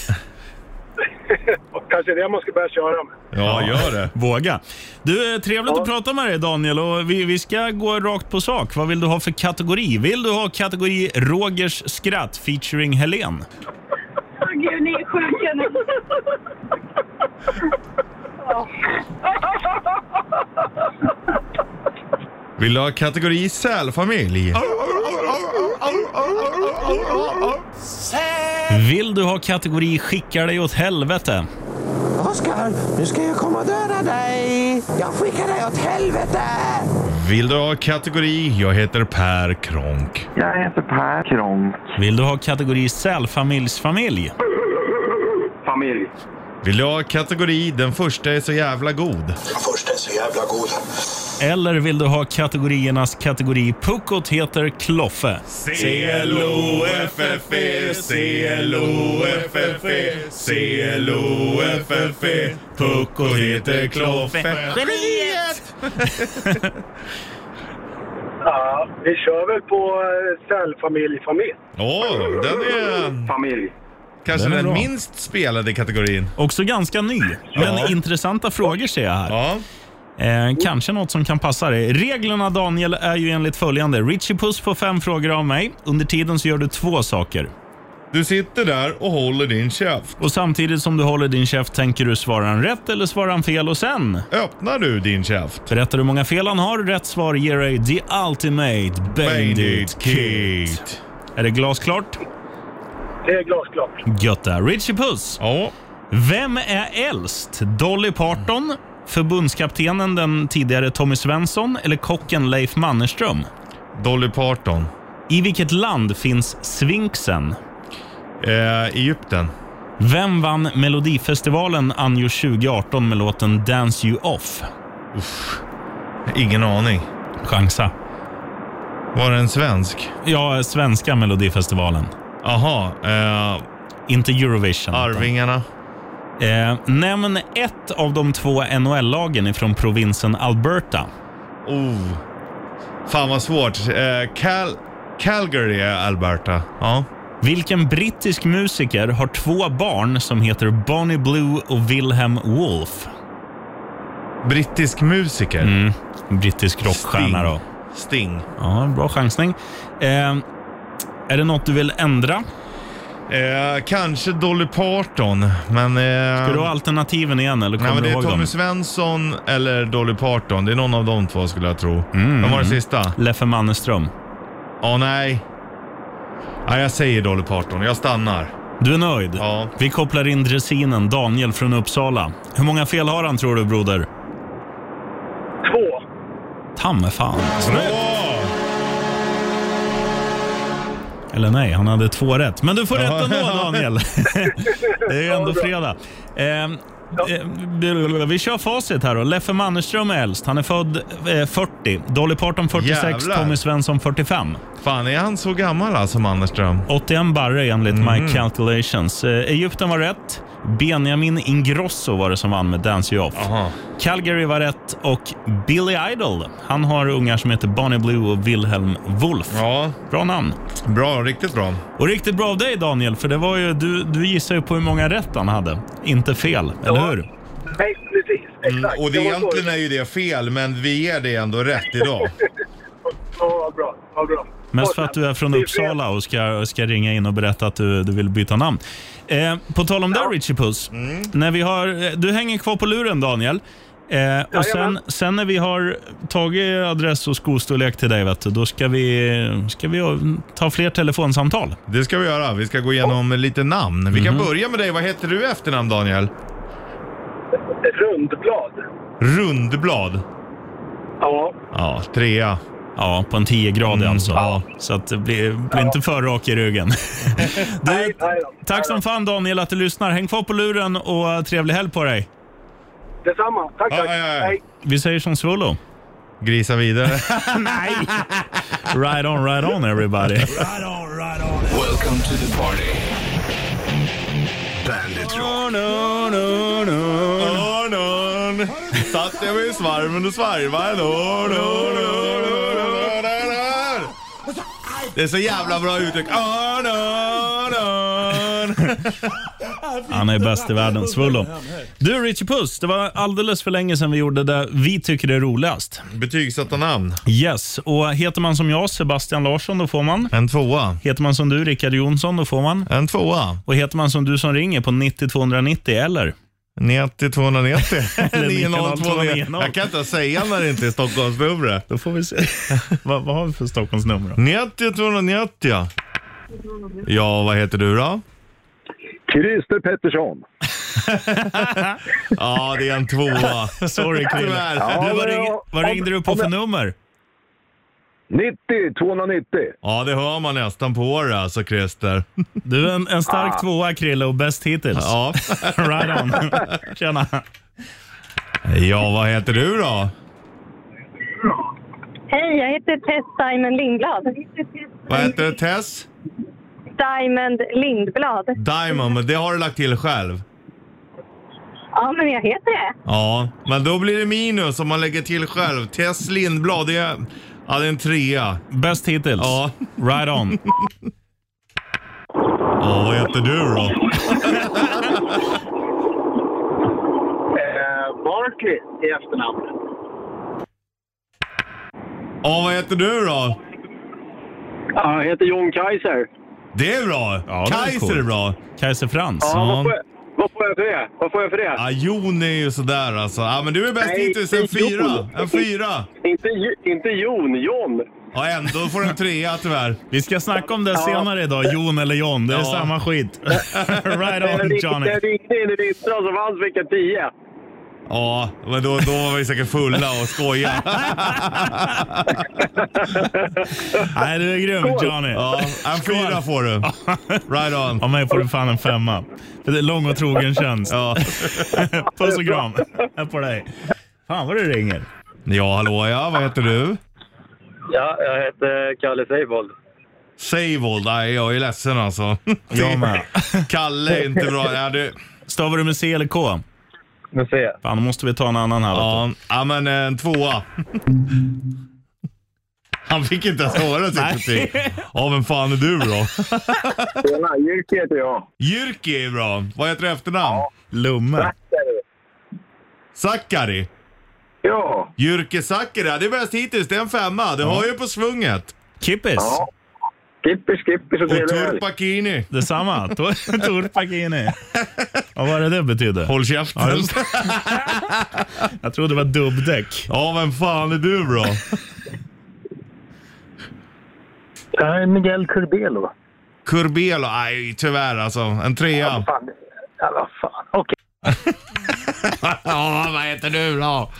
[SPEAKER 5] Och kanske det man ska börja köra med.
[SPEAKER 3] Ja gör det.
[SPEAKER 2] Våga. Du, eh, trevligt
[SPEAKER 5] Ja.
[SPEAKER 2] att prata med dig Daniel och vi, vi ska gå rakt på sak. Vad vill du ha för kategori? Vill du ha kategori Rogers skratt featuring Helen?
[SPEAKER 6] Åh gud, ni är sjuka nu.
[SPEAKER 3] Vill du ha kategori sälfamilj?
[SPEAKER 2] Vill du ha kategori Skickar dig åt helvete?
[SPEAKER 4] Oskar, nu ska jag komma och döda dig. Jag skickar dig åt helvete.
[SPEAKER 3] Vill du ha kategori jag heter Per Kronk?
[SPEAKER 7] Jag heter Per Kronk.
[SPEAKER 2] Vill du ha kategori Sälfamiljsfamilj?
[SPEAKER 5] Familj.
[SPEAKER 3] Vill du ha kategori den första är så jävla god?
[SPEAKER 1] Först är så jävla god.
[SPEAKER 2] Eller vill du ha kategoriernas kategori Puckot heter Kloffe?
[SPEAKER 3] C-L-O-F-F-E, C-L-O-F-F-E, C-L-O-F-F-E, E. Pucko heter Kloffe.
[SPEAKER 2] Geniet!
[SPEAKER 5] Ja, vi kör väl på eh, cellfamilj, familj.
[SPEAKER 3] Åh, den är
[SPEAKER 5] Familj.
[SPEAKER 3] kanske
[SPEAKER 2] Den
[SPEAKER 3] den,
[SPEAKER 2] är bra.
[SPEAKER 3] minst spelade kategorin.
[SPEAKER 2] Också ganska ny, men
[SPEAKER 3] Ja.
[SPEAKER 2] intressanta frågor ser jag här.
[SPEAKER 3] Ja.
[SPEAKER 2] Eh, kanske något som kan passa dig. Reglerna Daniel är ju enligt följande. Richie Puss får fem frågor av mig. Under tiden så gör du två saker.
[SPEAKER 3] Du sitter där och håller din käft.
[SPEAKER 2] Och samtidigt som du håller din käft tänker du svarar han rätt eller svarar han fel och sen
[SPEAKER 3] Öppnar du din käft?
[SPEAKER 2] berättar du hur många fel han har. Rätt svar ger dig the ultimate bandit kit. Är det glasklart?
[SPEAKER 5] Det är glasklart.
[SPEAKER 2] Gött det. här. Richie Puss.
[SPEAKER 3] Ja.
[SPEAKER 2] Vem är äldst? Dolly Parton, förbundskaptenen den tidigare Tommy Svensson eller kocken Leif Mannerström?
[SPEAKER 3] Dolly Parton.
[SPEAKER 2] I vilket land finns Sfinxen?
[SPEAKER 3] Eh, Egypten.
[SPEAKER 2] Vem vann Melodifestivalen anno 2018 med låten Dance You Off?
[SPEAKER 3] Ingen aning.
[SPEAKER 2] Chansa.
[SPEAKER 3] Var det en svensk?
[SPEAKER 2] Ja, svenska Melodifestivalen.
[SPEAKER 3] Aha. Eh,
[SPEAKER 2] Inte Eurovision.
[SPEAKER 3] Ah, Arvingarna.
[SPEAKER 2] Eh, nämn ett av de två NHL-lagen ifrån provinsen Alberta.
[SPEAKER 3] Oh. Fan vad svårt. Eh, Cal Calgary är Alberta. Ja.
[SPEAKER 2] Vilken brittisk musiker har två barn som heter Bonnie Blue och Wilhelm Wolf?
[SPEAKER 3] Brittisk musiker.
[SPEAKER 2] Mm. Brittisk rockstjärna då.
[SPEAKER 3] Sting.
[SPEAKER 2] Ja, bra chansning. Eh, är det något du vill ändra?
[SPEAKER 3] Eh, kanske Dolly Parton, men... Eh,
[SPEAKER 2] Ska du ha alternativen igen eller kommer
[SPEAKER 3] Nej, men det
[SPEAKER 2] du
[SPEAKER 3] är
[SPEAKER 2] ihåg dem?
[SPEAKER 3] Tommy Svensson eller Dolly Parton. Det är någon av de två skulle jag tro.
[SPEAKER 2] Mm.
[SPEAKER 3] Vem var det sista?
[SPEAKER 2] Leffe Mannerström.
[SPEAKER 3] Ja, nej. Ja, jag säger Dolly Parton. Jag stannar.
[SPEAKER 2] Du är nöjd?
[SPEAKER 3] Ja.
[SPEAKER 2] Vi kopplar in dressinen Daniel från Uppsala. Hur många fel har han tror du broder?
[SPEAKER 5] Två.
[SPEAKER 2] Tamme fan.
[SPEAKER 3] Åh!
[SPEAKER 2] Eller nej, han hade två rätt. Men du får rätt ändå
[SPEAKER 3] [LAUGHS]
[SPEAKER 2] Daniel. det är ju ändå fredag. Eh, eh, vi kör facit här då. Leffe Mannerström är äldst. Han är född eh, 40. Dolly Parton 46,
[SPEAKER 3] Jävlar.
[SPEAKER 2] Tommy Svensson 45.
[SPEAKER 3] Fan, är han så gammal alltså, Mannerström?
[SPEAKER 2] 81 barre enligt
[SPEAKER 3] Mhm.
[SPEAKER 2] my calculations. Eh, Egypten var rätt. Benjamin Ingrosso var det som vann med Dance You Off.
[SPEAKER 3] Jaha.
[SPEAKER 2] Calgary var rätt och Billy Idol. Han har ungar som heter Bonnie Blue och Wilhelm Wolf.
[SPEAKER 3] Ja,
[SPEAKER 2] Bra namn.
[SPEAKER 3] bra. Riktigt bra.
[SPEAKER 2] Och riktigt bra av dig Daniel, för det var ju, du, du gissade ju på hur många rätt han hade. Inte fel, eller hur?
[SPEAKER 5] Nej, precis. Exakt.
[SPEAKER 3] Mm, Och det
[SPEAKER 5] var så.
[SPEAKER 3] egentligen är ju det fel, men vi ger det ändå rätt idag.
[SPEAKER 5] Ja, bra. Ja, bra.
[SPEAKER 2] Mest för att du är från
[SPEAKER 5] Det fel.
[SPEAKER 2] Uppsala och ska, ska ringa in och berätta att du, du vill byta namn. Eh, på tal om det, Richie Puss.
[SPEAKER 5] Mm.
[SPEAKER 2] När vi har, eh, du hänger kvar på luren, Daniel. Eh, och sen,
[SPEAKER 5] Jajamän.
[SPEAKER 2] sen när vi har tagit adress och skostorlek till dig, vet du, då ska vi, ska vi eh, ta fler telefonsamtal.
[SPEAKER 3] Det ska vi göra. Vi ska gå igenom lite namn. Vi kan
[SPEAKER 5] Mhm.
[SPEAKER 3] börja med dig. Vad heter du i efternamn, Daniel?
[SPEAKER 5] Rundblad.
[SPEAKER 3] Rundblad.
[SPEAKER 5] Ja.
[SPEAKER 3] Ja, trea.
[SPEAKER 2] Ja, på en 10-gradig
[SPEAKER 3] Mm,
[SPEAKER 2] alltså.
[SPEAKER 3] ja.
[SPEAKER 2] Så att det blir, blir inte för rak i ryggen. du,
[SPEAKER 5] Nej, nej då.
[SPEAKER 2] tack som fan Daniel att du lyssnar. Häng kvar på luren och eh, trevlig helg på dig.
[SPEAKER 5] Detsamma. Tack, tack.
[SPEAKER 3] Ja, ja, ja.
[SPEAKER 5] Hej.
[SPEAKER 2] Vi säger som Svullo.
[SPEAKER 3] Grisa
[SPEAKER 5] [LAUGHS]
[SPEAKER 3] vidare.
[SPEAKER 2] Nej! right on, right on everybody.
[SPEAKER 1] Right on, right on. Welcome to the party. Bandit Rock.
[SPEAKER 3] Örnen satt jag vid svarven och svarvade en örn, örn, örn, örn, örn, örn. Det är så jävla bra uttryck. Örn, örn,
[SPEAKER 5] [LAUGHS]
[SPEAKER 3] örn.
[SPEAKER 2] Han är bäst i världen, Svullo. Du Richie Puss, det var alldeles för länge sedan vi gjorde det vi tycker är roligast.
[SPEAKER 3] Betygsatta namn.
[SPEAKER 2] Yes, och heter man som jag, Sebastian Larsson, då får man.
[SPEAKER 3] En tvåa.
[SPEAKER 2] Heter man som du, Rickard Jonsson, då får man.
[SPEAKER 3] En tvåa.
[SPEAKER 2] Och heter man som du som ringer på 90 290 eller?
[SPEAKER 3] 90 290.
[SPEAKER 2] [LAUGHS] Eller
[SPEAKER 3] [LAUGHS] 90
[SPEAKER 2] 90.
[SPEAKER 3] Jag kan inte säga när det inte är Stockholmsnumret.
[SPEAKER 2] Då får vi se. vad, vad har vi för Stockholmsnummer då?
[SPEAKER 3] 90 290 ja. Ja, vad heter du då?
[SPEAKER 8] Christer Pettersson.
[SPEAKER 3] Ja, det är en tvåa.
[SPEAKER 2] [LAUGHS] Sorry Krille.
[SPEAKER 3] Tyvärr.
[SPEAKER 2] Du, vad,
[SPEAKER 8] men
[SPEAKER 2] ring,
[SPEAKER 8] jag-
[SPEAKER 2] vad
[SPEAKER 8] om-
[SPEAKER 2] ringde du på
[SPEAKER 8] om
[SPEAKER 2] för
[SPEAKER 8] jag-
[SPEAKER 2] nummer?
[SPEAKER 8] 90 290.
[SPEAKER 3] Ja, det hör man nästan på det alltså Christer.
[SPEAKER 2] Du är en, en
[SPEAKER 8] Ah.
[SPEAKER 2] stark tvåa Krille och bäst hittills.
[SPEAKER 3] Ja.
[SPEAKER 2] [LAUGHS] Right on. [LAUGHS] Tjena.
[SPEAKER 3] ja, vad heter du då?
[SPEAKER 6] Hej, jag heter Tess Diamond Lindblad.
[SPEAKER 3] Vad heter du Tess?
[SPEAKER 6] Diamond Lindblad.
[SPEAKER 3] Diamond, men det har du lagt till själv.
[SPEAKER 6] Ja, men jag heter det.
[SPEAKER 3] Ja, men då blir det minus om man lägger till själv. Tess Lindblad, det är, ja, det är en trea.
[SPEAKER 2] Bäst hittills.
[SPEAKER 3] Ja.
[SPEAKER 2] Right on.
[SPEAKER 3] Ja, vad heter du då?
[SPEAKER 5] Eh, Barkley i efternamn.
[SPEAKER 3] Ja, vad heter du då?
[SPEAKER 5] Ja, jag heter John Kaiser.
[SPEAKER 3] Det är bra.
[SPEAKER 2] Ja, det är
[SPEAKER 3] Kaiser
[SPEAKER 2] cool.
[SPEAKER 3] är bra.
[SPEAKER 2] Kaiser Frans.
[SPEAKER 5] Ja,
[SPEAKER 3] Ja.
[SPEAKER 5] Vad, får jag, vad får jag för det? Vad får jag för det?
[SPEAKER 3] Ja, Jon är ju sådär alltså. Ja, men du är bäst
[SPEAKER 5] Nej,
[SPEAKER 3] hittills. En
[SPEAKER 5] det är
[SPEAKER 3] fyra.
[SPEAKER 5] Jon.
[SPEAKER 3] En fyra.
[SPEAKER 5] Inte, Ju- inte Jon, John.
[SPEAKER 3] Ja, ändå får du en trea tyvärr.
[SPEAKER 2] Vi ska snacka om det senare idag, Jon eller John. Det är
[SPEAKER 3] Ja.
[SPEAKER 2] samma skit. [LAUGHS] right on
[SPEAKER 5] Jag ringde-
[SPEAKER 2] Johnny.
[SPEAKER 5] Jag ringde in i vintras och vann fick jag 10.
[SPEAKER 3] Ja, men då, då var vi säkert fulla och skojade.
[SPEAKER 2] Nej, du är grym Johnny.
[SPEAKER 3] Ja, en fyra
[SPEAKER 2] [LAUGHS]
[SPEAKER 3] får du. Right on.
[SPEAKER 2] Av mig får du fan en femma. För det är lång och trogen tjänst.
[SPEAKER 3] Ja.
[SPEAKER 2] [LAUGHS] Puss och kram. Här på dig. Fan vad du ringer.
[SPEAKER 3] ja, hallå ja. Vad heter du?
[SPEAKER 5] Ja, jag heter Kalle Seibold.
[SPEAKER 3] Seivold. Nej, jag är ledsen alltså.
[SPEAKER 2] Jag med.
[SPEAKER 3] [LAUGHS] Kalle är inte bra. Ja, du.
[SPEAKER 2] Stavar du med C eller K?
[SPEAKER 5] Nu ser jag.
[SPEAKER 2] Fan, då måste vi ta en annan här. vet
[SPEAKER 3] Ja, ja, men eh, en tvåa. Han fick inte ens höra sitt betyg. Ja, vem fan är du då?
[SPEAKER 8] Tjena, Jyrki heter jag.
[SPEAKER 3] Jyrki är bra. Vad heter du i efternamn?
[SPEAKER 2] du. Lumme.
[SPEAKER 3] Sakari.
[SPEAKER 8] Ja,
[SPEAKER 3] Jyrki Sakari. Ja, Det är bäst hittills. Det är en femma. Det har ju på svunget.
[SPEAKER 2] Kippis.
[SPEAKER 8] Ja. Skippi, skippi så
[SPEAKER 3] Och
[SPEAKER 8] trevlig helg.
[SPEAKER 3] Turpakini.
[SPEAKER 2] Detsamma. Tor- [LAUGHS] Torpakini. Vad var det det betydde?
[SPEAKER 3] Håll
[SPEAKER 2] Ja,
[SPEAKER 3] käften.
[SPEAKER 2] just det. Jag trodde det var dubbdäck.
[SPEAKER 3] Ja, vem fan är du bra?
[SPEAKER 8] Det här är Miguel Curbelo.
[SPEAKER 3] Kurbelo? Nej, tyvärr alltså. En trea.
[SPEAKER 8] Fan. Ja, vad fan. Okej.
[SPEAKER 3] Ja, vad heter du då?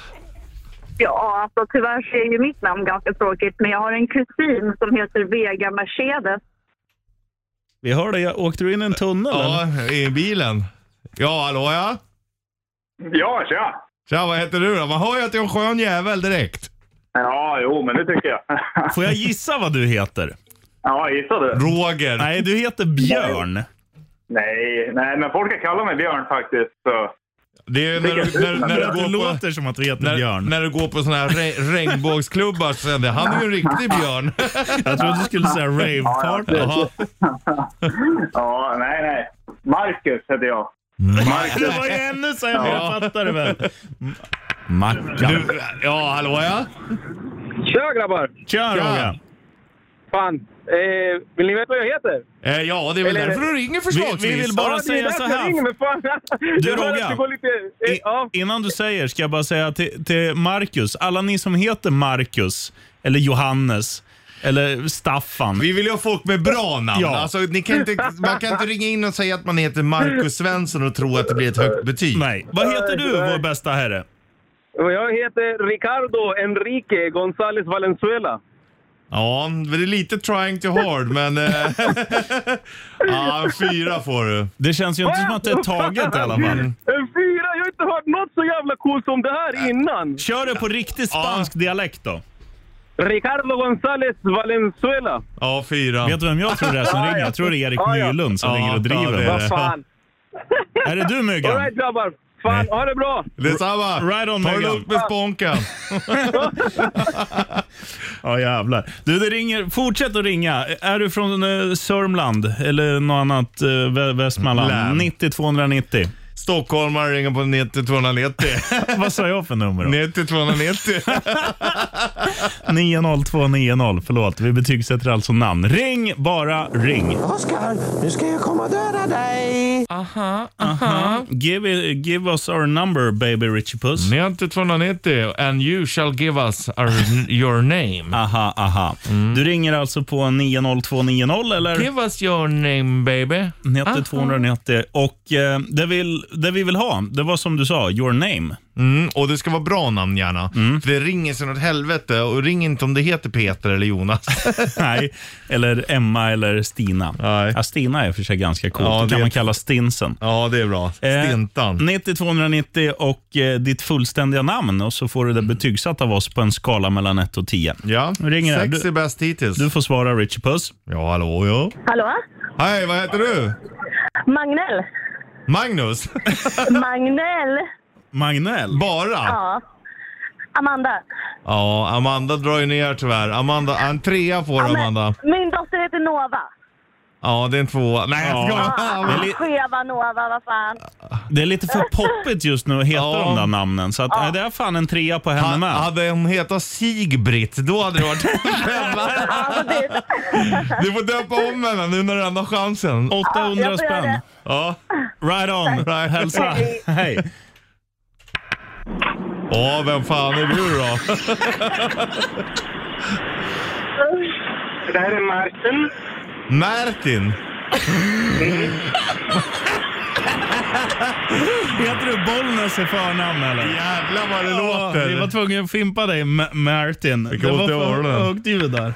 [SPEAKER 6] Ja, alltså tyvärr så är ju mitt namn ganska tråkigt, men jag har en kusin som heter Vega Mercedes.
[SPEAKER 2] Vi hörde, jag, åkte du in i en tunnel? eller?
[SPEAKER 3] Ja, i bilen. Ja, hallå ja.
[SPEAKER 5] Ja, tja!
[SPEAKER 3] Tja, vad heter du då? Man hör ju att jag är en skön jävel direkt.
[SPEAKER 5] Ja, jo, men det tycker jag. [LAUGHS]
[SPEAKER 2] Får jag gissa vad du heter?
[SPEAKER 5] ja, gissar du?
[SPEAKER 3] Roger.
[SPEAKER 2] Nej, du heter Björn.
[SPEAKER 5] Nej, nej, men folk kan kalla mig Björn faktiskt. Så.
[SPEAKER 3] Det är när du, när, när
[SPEAKER 2] Det
[SPEAKER 3] du går på...
[SPEAKER 2] låter som att du heter
[SPEAKER 3] När,
[SPEAKER 2] Björn.
[SPEAKER 3] när du går på såna här re, regnbågsklubbar så säger det, han är ju en riktig björn.
[SPEAKER 2] Jag trodde du skulle säga rave-party.
[SPEAKER 3] Jaha.
[SPEAKER 8] Ja, nej, nej. Marcus heter jag.
[SPEAKER 2] Det var ju ännu sämre, jag fattar det väl.
[SPEAKER 3] Du, ja, hallå ja?
[SPEAKER 5] Tja grabbar!
[SPEAKER 2] Tja Roga!
[SPEAKER 5] Fan, eh, vill ni veta vad jag heter?
[SPEAKER 3] Eh, ja, det är väl
[SPEAKER 5] Eller-
[SPEAKER 3] därför du ringer förslagsvis.
[SPEAKER 2] Vi- vi vill bara-
[SPEAKER 5] Ja, det är
[SPEAKER 2] säga
[SPEAKER 5] därför
[SPEAKER 2] så här.
[SPEAKER 5] jag ringer, men fan.
[SPEAKER 2] Du,
[SPEAKER 5] Jag hör att
[SPEAKER 2] Roga.
[SPEAKER 5] det går lite... eh,
[SPEAKER 2] I-
[SPEAKER 5] Ja,
[SPEAKER 2] Innan du säger ska jag bara säga till, till Marcus, alla ni som heter Marcus, eller Johannes, eller Staffan.
[SPEAKER 3] Vi vill ju ha folk med bra namn.
[SPEAKER 2] Ja.
[SPEAKER 3] Alltså, ni kan inte, man kan inte ringa in och säga att man heter Marcus Svensson och tro att det blir ett högt betyg.
[SPEAKER 2] Nej. Vad heter du, vår bästa herre?
[SPEAKER 5] jag heter Ricardo Enrique González Valenzuela.
[SPEAKER 3] Ja, men det är lite trying too hard, men... eh, [LAUGHS] ja, en fyra får du.
[SPEAKER 2] Det känns ju inte som att det är taget i alla fall.
[SPEAKER 5] En fyra! Jag har inte hört något så jävla coolt som det här innan!
[SPEAKER 2] Kör det på riktig spansk dialekt då.
[SPEAKER 5] Ricardo González Valenzuela.
[SPEAKER 3] Ja, fyra.
[SPEAKER 2] Vet du vem jag tror det är som ringer? Jag tror det är Erik
[SPEAKER 5] Ja, ja.
[SPEAKER 2] Nylund som
[SPEAKER 3] Ja,
[SPEAKER 2] ringer och
[SPEAKER 3] ja, det
[SPEAKER 2] driver.
[SPEAKER 3] är
[SPEAKER 5] Vad
[SPEAKER 3] [LAUGHS]
[SPEAKER 5] fan.
[SPEAKER 2] Är det du Myggan?
[SPEAKER 5] Alright grabbar. Fan, ha det bra!
[SPEAKER 3] Detsamma!
[SPEAKER 2] Right on,
[SPEAKER 3] Ta det
[SPEAKER 2] Megan.
[SPEAKER 3] lugnt med sponken.
[SPEAKER 2] Ja jävlar. Du, det ringer. Fortsätt att ringa. Är du från eh, Sörmland eller något annat eh, Vä- Västmanland?
[SPEAKER 3] Län.
[SPEAKER 2] 90 290.
[SPEAKER 3] Stockholmare ringer på 90 290. [LAUGHS]
[SPEAKER 2] Vad sa jag för nummer då?
[SPEAKER 3] 90 [LAUGHS] 290.
[SPEAKER 2] 90290. Förlåt, vi betygsätter alltså namn. Ring, bara ring.
[SPEAKER 4] Oskar, nu ska jag komma och döda dig!
[SPEAKER 2] Give, i- give us our number baby Richie Puss.
[SPEAKER 3] 90 290 and you shall give us our, your name.
[SPEAKER 2] Aha, aha. Du ringer alltså på 90290 eller
[SPEAKER 3] Give us your name baby.
[SPEAKER 2] Ah. 90290. Och eh, det, vill, det vi vill ha, det var som du sa, your [LAUGHS] name.
[SPEAKER 3] Mm, och det ska vara bra namn gärna. För det ringer sen åt helvete och ring inte om det heter Peter eller Jonas. [LAUGHS]
[SPEAKER 2] Nej, eller Emma eller Stina.
[SPEAKER 3] Nej.
[SPEAKER 2] Ja, Stina är för sig ganska coolt.
[SPEAKER 3] Ja,
[SPEAKER 2] det kan
[SPEAKER 3] det-
[SPEAKER 2] man kalla Stinsen.
[SPEAKER 3] ja, det är bra.
[SPEAKER 2] Eh,
[SPEAKER 3] Stintan.
[SPEAKER 2] 90290 och eh, ditt fullständiga namn och så får du det betygsatt av oss på en skala mellan 1 och 10.
[SPEAKER 3] Ja,
[SPEAKER 2] Nu ringer det.
[SPEAKER 3] sex
[SPEAKER 2] Du-
[SPEAKER 3] är bäst hittills.
[SPEAKER 2] Du får svara Richie Puss.
[SPEAKER 3] Ja, hallå ja.
[SPEAKER 6] Hallå?
[SPEAKER 3] Hej, vad heter du?
[SPEAKER 2] [LAUGHS]
[SPEAKER 6] Magnell?
[SPEAKER 3] Magnus?
[SPEAKER 6] Magnell?
[SPEAKER 2] Magnell.
[SPEAKER 3] Bara?
[SPEAKER 6] Ja. Amanda?
[SPEAKER 3] Ja, Amanda drar ju ner tyvärr. Amanda, en trea får Amanda.
[SPEAKER 6] Min dotter heter
[SPEAKER 2] [LAUGHS]
[SPEAKER 6] Nova.
[SPEAKER 3] Ja, det är en tvåa. Nej, jag
[SPEAKER 2] Ja.
[SPEAKER 3] skojar.
[SPEAKER 2] är li-
[SPEAKER 6] Skeva Nova, vad fan.
[SPEAKER 2] Det är lite för poppigt just nu att heta
[SPEAKER 3] Ja.
[SPEAKER 2] de där namnen. Så att, nej, det är fan en trea på henne
[SPEAKER 3] Ha,
[SPEAKER 2] med.
[SPEAKER 3] hade hon hetat Sigbritt, då hade det varit en femma.
[SPEAKER 2] [LAUGHS]
[SPEAKER 6] Alltså, det...
[SPEAKER 3] Du får döpa om henne nu när du ändå har chansen.
[SPEAKER 2] 800
[SPEAKER 6] jag får göra
[SPEAKER 2] spänn.
[SPEAKER 6] det.
[SPEAKER 3] Ja.
[SPEAKER 2] Right on.
[SPEAKER 3] Right.
[SPEAKER 2] Hälsa. Hej.
[SPEAKER 3] Ja, vem fan är du då?
[SPEAKER 5] Det här är Martin.
[SPEAKER 3] Martin?
[SPEAKER 2] Heter du Bollnäs i förnamn eller?
[SPEAKER 3] Jävlar vad det
[SPEAKER 2] Ja,
[SPEAKER 3] låter.
[SPEAKER 2] Vi var tvungna att fimpa dig, Ma- Martin. Det
[SPEAKER 3] ont
[SPEAKER 2] var
[SPEAKER 3] i öronen.
[SPEAKER 2] högt ljud där.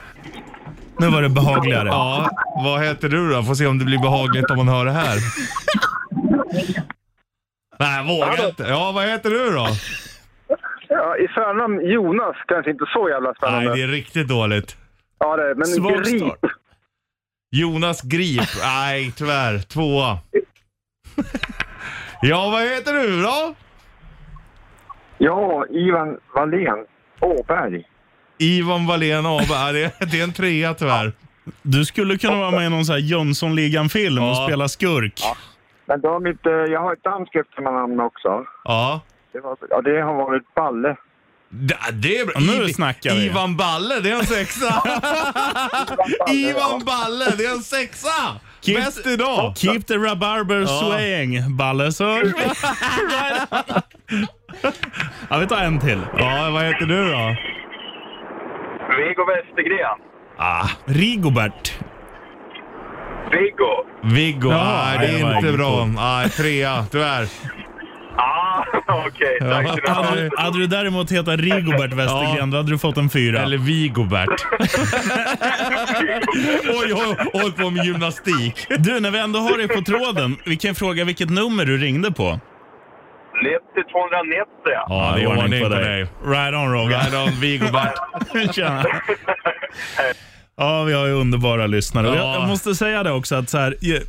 [SPEAKER 2] Nu var det behagligare.
[SPEAKER 3] Ja, vad heter du då? Får se om det blir behagligt om man hör det här. Nej, vågar inte. Ja, vad heter du då?
[SPEAKER 5] Ja, I förnamn Jonas, kanske inte så jävla
[SPEAKER 3] Nej,
[SPEAKER 5] spännande.
[SPEAKER 3] det är riktigt dåligt.
[SPEAKER 5] Ja, det är, men
[SPEAKER 2] Svag
[SPEAKER 5] grip.
[SPEAKER 2] start.
[SPEAKER 3] Jonas Grip. Nej, tyvärr. Tvåa. Ja, vad heter du då?
[SPEAKER 8] Ja, Ivan Wallén. Åberg.
[SPEAKER 3] Ivan Wallén AB. Ja, Det det är en trea tyvärr.
[SPEAKER 2] Du skulle kunna vara med i någon sån här Jönssonligan-film och
[SPEAKER 3] Ja.
[SPEAKER 2] spela skurk.
[SPEAKER 8] Men de har mitt, eh, jag har ett danskt efternamn också.
[SPEAKER 3] Ja.
[SPEAKER 8] Det, var, ja, det har varit Balle.
[SPEAKER 3] Det, det är bra.
[SPEAKER 2] nu
[SPEAKER 3] Iv-
[SPEAKER 2] snackar vi.
[SPEAKER 3] Ivan Balle, det är en sexa.
[SPEAKER 2] [LAUGHS]
[SPEAKER 3] Ivan Balle, det är en sexa!
[SPEAKER 2] Keep-
[SPEAKER 3] Bäst idag!
[SPEAKER 2] Keep the rabarber swaying, Balle, så
[SPEAKER 3] [LAUGHS]
[SPEAKER 2] hörs vi. ja, vi tar en till.
[SPEAKER 3] Ja, vad heter du då?
[SPEAKER 5] Viggo Westergren.
[SPEAKER 3] Ah,
[SPEAKER 2] Rigobert.
[SPEAKER 5] Viggo.
[SPEAKER 3] Viggo.
[SPEAKER 2] Jaha,
[SPEAKER 3] Nej, det
[SPEAKER 2] det var
[SPEAKER 3] är inte
[SPEAKER 2] inget
[SPEAKER 3] bra.
[SPEAKER 2] kul.
[SPEAKER 3] Nej, trea, tyvärr.
[SPEAKER 5] Ah, [LAUGHS] okej. Tack ska
[SPEAKER 2] Hade
[SPEAKER 5] ni
[SPEAKER 2] du, hade du däremot hetat Rigobert Westergren,
[SPEAKER 3] Ja.
[SPEAKER 2] då hade du fått en fyra. [LAUGHS]
[SPEAKER 3] Eller Vigobert. oj, oj, håll på med gymnastik.
[SPEAKER 2] Du, när vi ändå har dig på tråden, vi kan fråga vilket nummer du ringde på.
[SPEAKER 5] ha. 90 290.
[SPEAKER 3] Ja, det är ordning på dig.
[SPEAKER 2] Right on, Roger.
[SPEAKER 3] Right on, Vigobert.
[SPEAKER 2] [LAUGHS] Tjena. Ja, vi har ju underbara lyssnare. Och
[SPEAKER 3] Ja.
[SPEAKER 2] Jag, jag måste säga det också att så här, ju-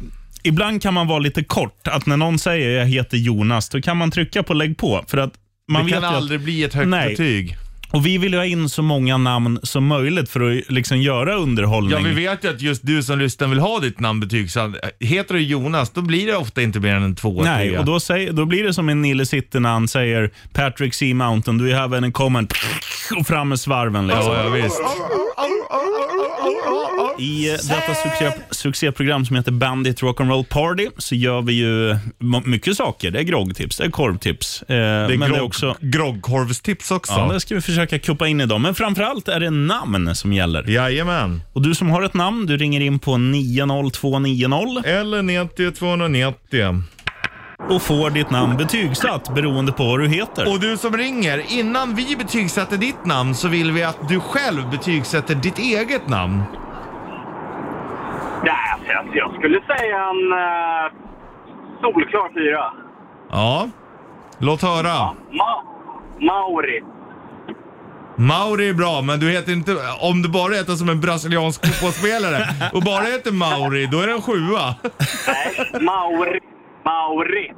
[SPEAKER 2] ibland kan man vara lite kort. Att när någon säger jag heter Jonas, då kan man trycka på lägg på. För att man
[SPEAKER 3] det kan
[SPEAKER 2] vet ju
[SPEAKER 3] aldrig
[SPEAKER 2] att,
[SPEAKER 3] bli ett högt
[SPEAKER 2] Nej.
[SPEAKER 3] betyg.
[SPEAKER 2] Och vi vill ju ha in så många namn som möjligt för att liksom göra
[SPEAKER 3] Ja,
[SPEAKER 2] underhållning.
[SPEAKER 3] vi vet ju att just du som lyssnar vill ha ditt namnbetyg. Så att, eh, heter du Jonas, då blir det ofta inte mer än en tvåa,
[SPEAKER 2] Nej,
[SPEAKER 3] trea.
[SPEAKER 2] och då, säger, då blir det som en Nille City när han säger Patrick C. Mountain, do you have any comment? Och fram med svarven liksom.
[SPEAKER 3] Ja, ja, visst.
[SPEAKER 2] I eh, detta succé, succéprogram som heter Bandit Rock'n'Roll Party så gör vi ju m- mycket saker. Det är groggtips, det är korvtips. Eh,
[SPEAKER 3] Det är,
[SPEAKER 2] men
[SPEAKER 3] grogg,
[SPEAKER 2] det är också
[SPEAKER 3] groggkorvstips också.
[SPEAKER 2] Ja, det ska vi försöka kuppa in idag. Men framförallt är det namn som gäller.
[SPEAKER 3] Jajamän.
[SPEAKER 2] Och du som har ett namn, du ringer in på 90290
[SPEAKER 3] Eller 90 290.
[SPEAKER 2] och får ditt namn betygsatt beroende på vad du heter.
[SPEAKER 3] Och du som ringer, innan vi betygsätter ditt namn så vill vi att du själv betygsätter ditt eget namn.
[SPEAKER 5] Nej, alltså, jag- jag skulle säga en eh, solklar fyra.
[SPEAKER 3] Ja. Låt höra.
[SPEAKER 5] Ma Mauri.
[SPEAKER 3] Mauri är bra, men du heter inte... Om du bara heter som en brasiliansk fotbollsspelare och bara heter Mauri, då är det en sjua.
[SPEAKER 5] Nej, Mauri. Mauri.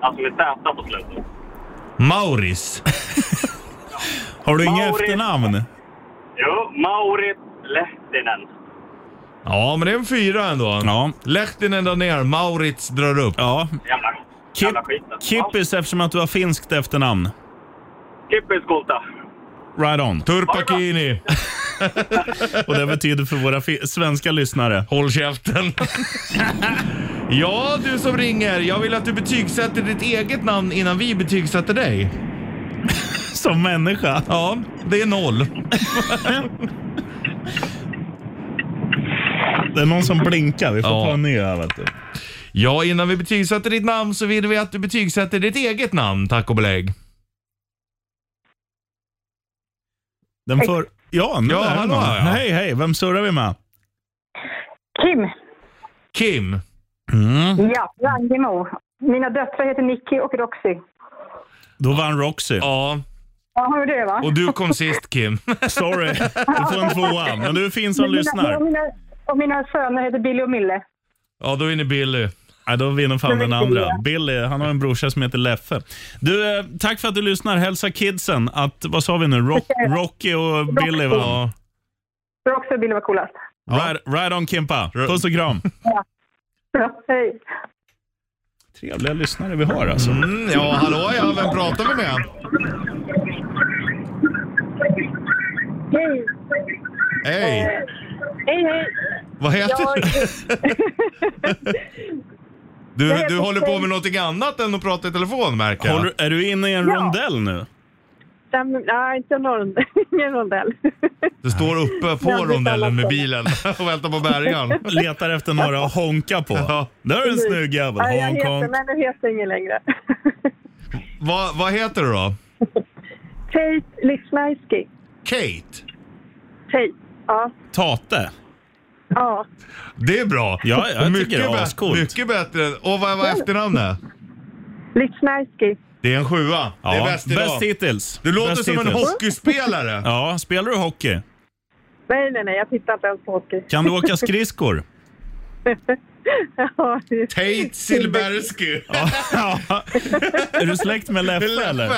[SPEAKER 5] Alltså med Z på slutet.
[SPEAKER 3] Mauris.
[SPEAKER 2] har du inga
[SPEAKER 5] Mauri.
[SPEAKER 2] efternamn?
[SPEAKER 5] Jo, Mauri Lehtinen.
[SPEAKER 3] Ja, men det är en fyra ändå.
[SPEAKER 2] Ja.
[SPEAKER 3] Lehtinen drar ner, Maurits drar upp.
[SPEAKER 2] Ja.
[SPEAKER 5] Jävla,
[SPEAKER 2] Kip,
[SPEAKER 5] jävla skiten.
[SPEAKER 2] kippis eftersom att du har finskt efternamn.
[SPEAKER 5] Ja, Kippis Kulta.
[SPEAKER 2] Right on.
[SPEAKER 3] Turpakini.
[SPEAKER 2] Och det betyder för våra fi- svenska lyssnare.
[SPEAKER 3] Håll käften. ja, du som ringer. Jag vill att du betygsätter ditt eget namn innan vi betygsätter dig.
[SPEAKER 2] Som människa.
[SPEAKER 3] Ja, det är noll.
[SPEAKER 5] [LAUGHS]
[SPEAKER 2] Det är någon som blinkar. Vi får
[SPEAKER 3] Ja.
[SPEAKER 2] ta en ny här. Vet du.
[SPEAKER 3] Ja, innan vi betygsätter ditt namn så vill vi att du betygsätter ditt eget namn, tack och belägg.
[SPEAKER 2] Den för... Ja, nu
[SPEAKER 3] Ja,
[SPEAKER 2] är det
[SPEAKER 3] hallå,
[SPEAKER 2] någon.
[SPEAKER 3] ja.
[SPEAKER 2] Hej, hej. Vem surrar vi med?
[SPEAKER 9] Kim.
[SPEAKER 3] Kim. Mm.
[SPEAKER 9] Ja, Rangemo. Mina döttrar heter Nicky och Roxy.
[SPEAKER 2] Då vann Roxy.
[SPEAKER 3] Ja,
[SPEAKER 9] Ja, hör du det va?
[SPEAKER 3] och du
[SPEAKER 9] [LAUGHS]
[SPEAKER 3] kom sist Kim.
[SPEAKER 2] Sorry, du får en tvåa. Men du är fin som
[SPEAKER 9] Men mina- Och
[SPEAKER 2] lyssnar.
[SPEAKER 9] mina, och mina söner heter Billy och Mille.
[SPEAKER 3] Ja, då är ni Billy.
[SPEAKER 2] Ja, då vinner fan den andra. Billy, han har en brorsa som heter Leffe. Du, eh, tack för att du lyssnar. Hälsa kidsen att, vad sa vi nu,
[SPEAKER 9] [LAUGHS]
[SPEAKER 2] Rock, Rocky och Billy va?
[SPEAKER 3] Ja.
[SPEAKER 9] Roxy och Billy var coolast.
[SPEAKER 2] Right, right on Kimpa. Puss och
[SPEAKER 3] [LAUGHS]
[SPEAKER 2] kram.
[SPEAKER 9] Ja, hej.
[SPEAKER 2] Trevliga lyssnare vi har alltså.
[SPEAKER 3] Mm, ja, hallå ja, vem pratar vi med?
[SPEAKER 9] Hej, Eh,
[SPEAKER 3] Hej,
[SPEAKER 9] hej. hej.
[SPEAKER 3] vad heter
[SPEAKER 2] [LAUGHS]
[SPEAKER 3] du? Du,
[SPEAKER 9] heter
[SPEAKER 3] du håller på
[SPEAKER 9] Kim.
[SPEAKER 3] med någonting annat än att prata i telefon märker
[SPEAKER 2] Håller,
[SPEAKER 3] jag.
[SPEAKER 2] du- är du inne i en rondell nu?
[SPEAKER 9] Nej, inte någon, ingen rondell.
[SPEAKER 3] Du står uppe på
[SPEAKER 9] Jag blir
[SPEAKER 3] rondellen med
[SPEAKER 9] förbannad.
[SPEAKER 3] bilen [LAUGHS] och väntar på bärgaren.
[SPEAKER 2] Letar efter några att honka på.
[SPEAKER 3] Ja.
[SPEAKER 2] Där är en snygg jävel.
[SPEAKER 9] Nej, jag
[SPEAKER 2] Honk,
[SPEAKER 9] heter,
[SPEAKER 2] honk.
[SPEAKER 9] men jag heter ingen längre. [LAUGHS]
[SPEAKER 3] Vad, vad heter du då?
[SPEAKER 9] Tate Lisnajski.
[SPEAKER 3] Kate.
[SPEAKER 9] Tate. Ja,
[SPEAKER 2] Tate.
[SPEAKER 9] ja.
[SPEAKER 3] Det är bra.
[SPEAKER 2] Ja, jag tycker det är
[SPEAKER 3] bä-
[SPEAKER 2] ascoolt.
[SPEAKER 3] Mycket bättre. än- Och vad var efternamnet?
[SPEAKER 9] Lisnajski.
[SPEAKER 3] Det är en sjua.
[SPEAKER 2] Ja,
[SPEAKER 3] Det är bäst idag.
[SPEAKER 2] hittills.
[SPEAKER 3] Du låter
[SPEAKER 2] Bäst
[SPEAKER 3] som en
[SPEAKER 2] hittills.
[SPEAKER 3] hockeyspelare.
[SPEAKER 2] Ja, spelar du hockey?
[SPEAKER 9] Nej, nej, nej, jag tittar inte ens på hockey.
[SPEAKER 2] Kan du åka skridskor?
[SPEAKER 9] [LAUGHS] Ja, det-
[SPEAKER 3] Tate Silbersky.
[SPEAKER 2] Ja.
[SPEAKER 3] [LAUGHS]
[SPEAKER 2] Är du släkt med Leffe eller?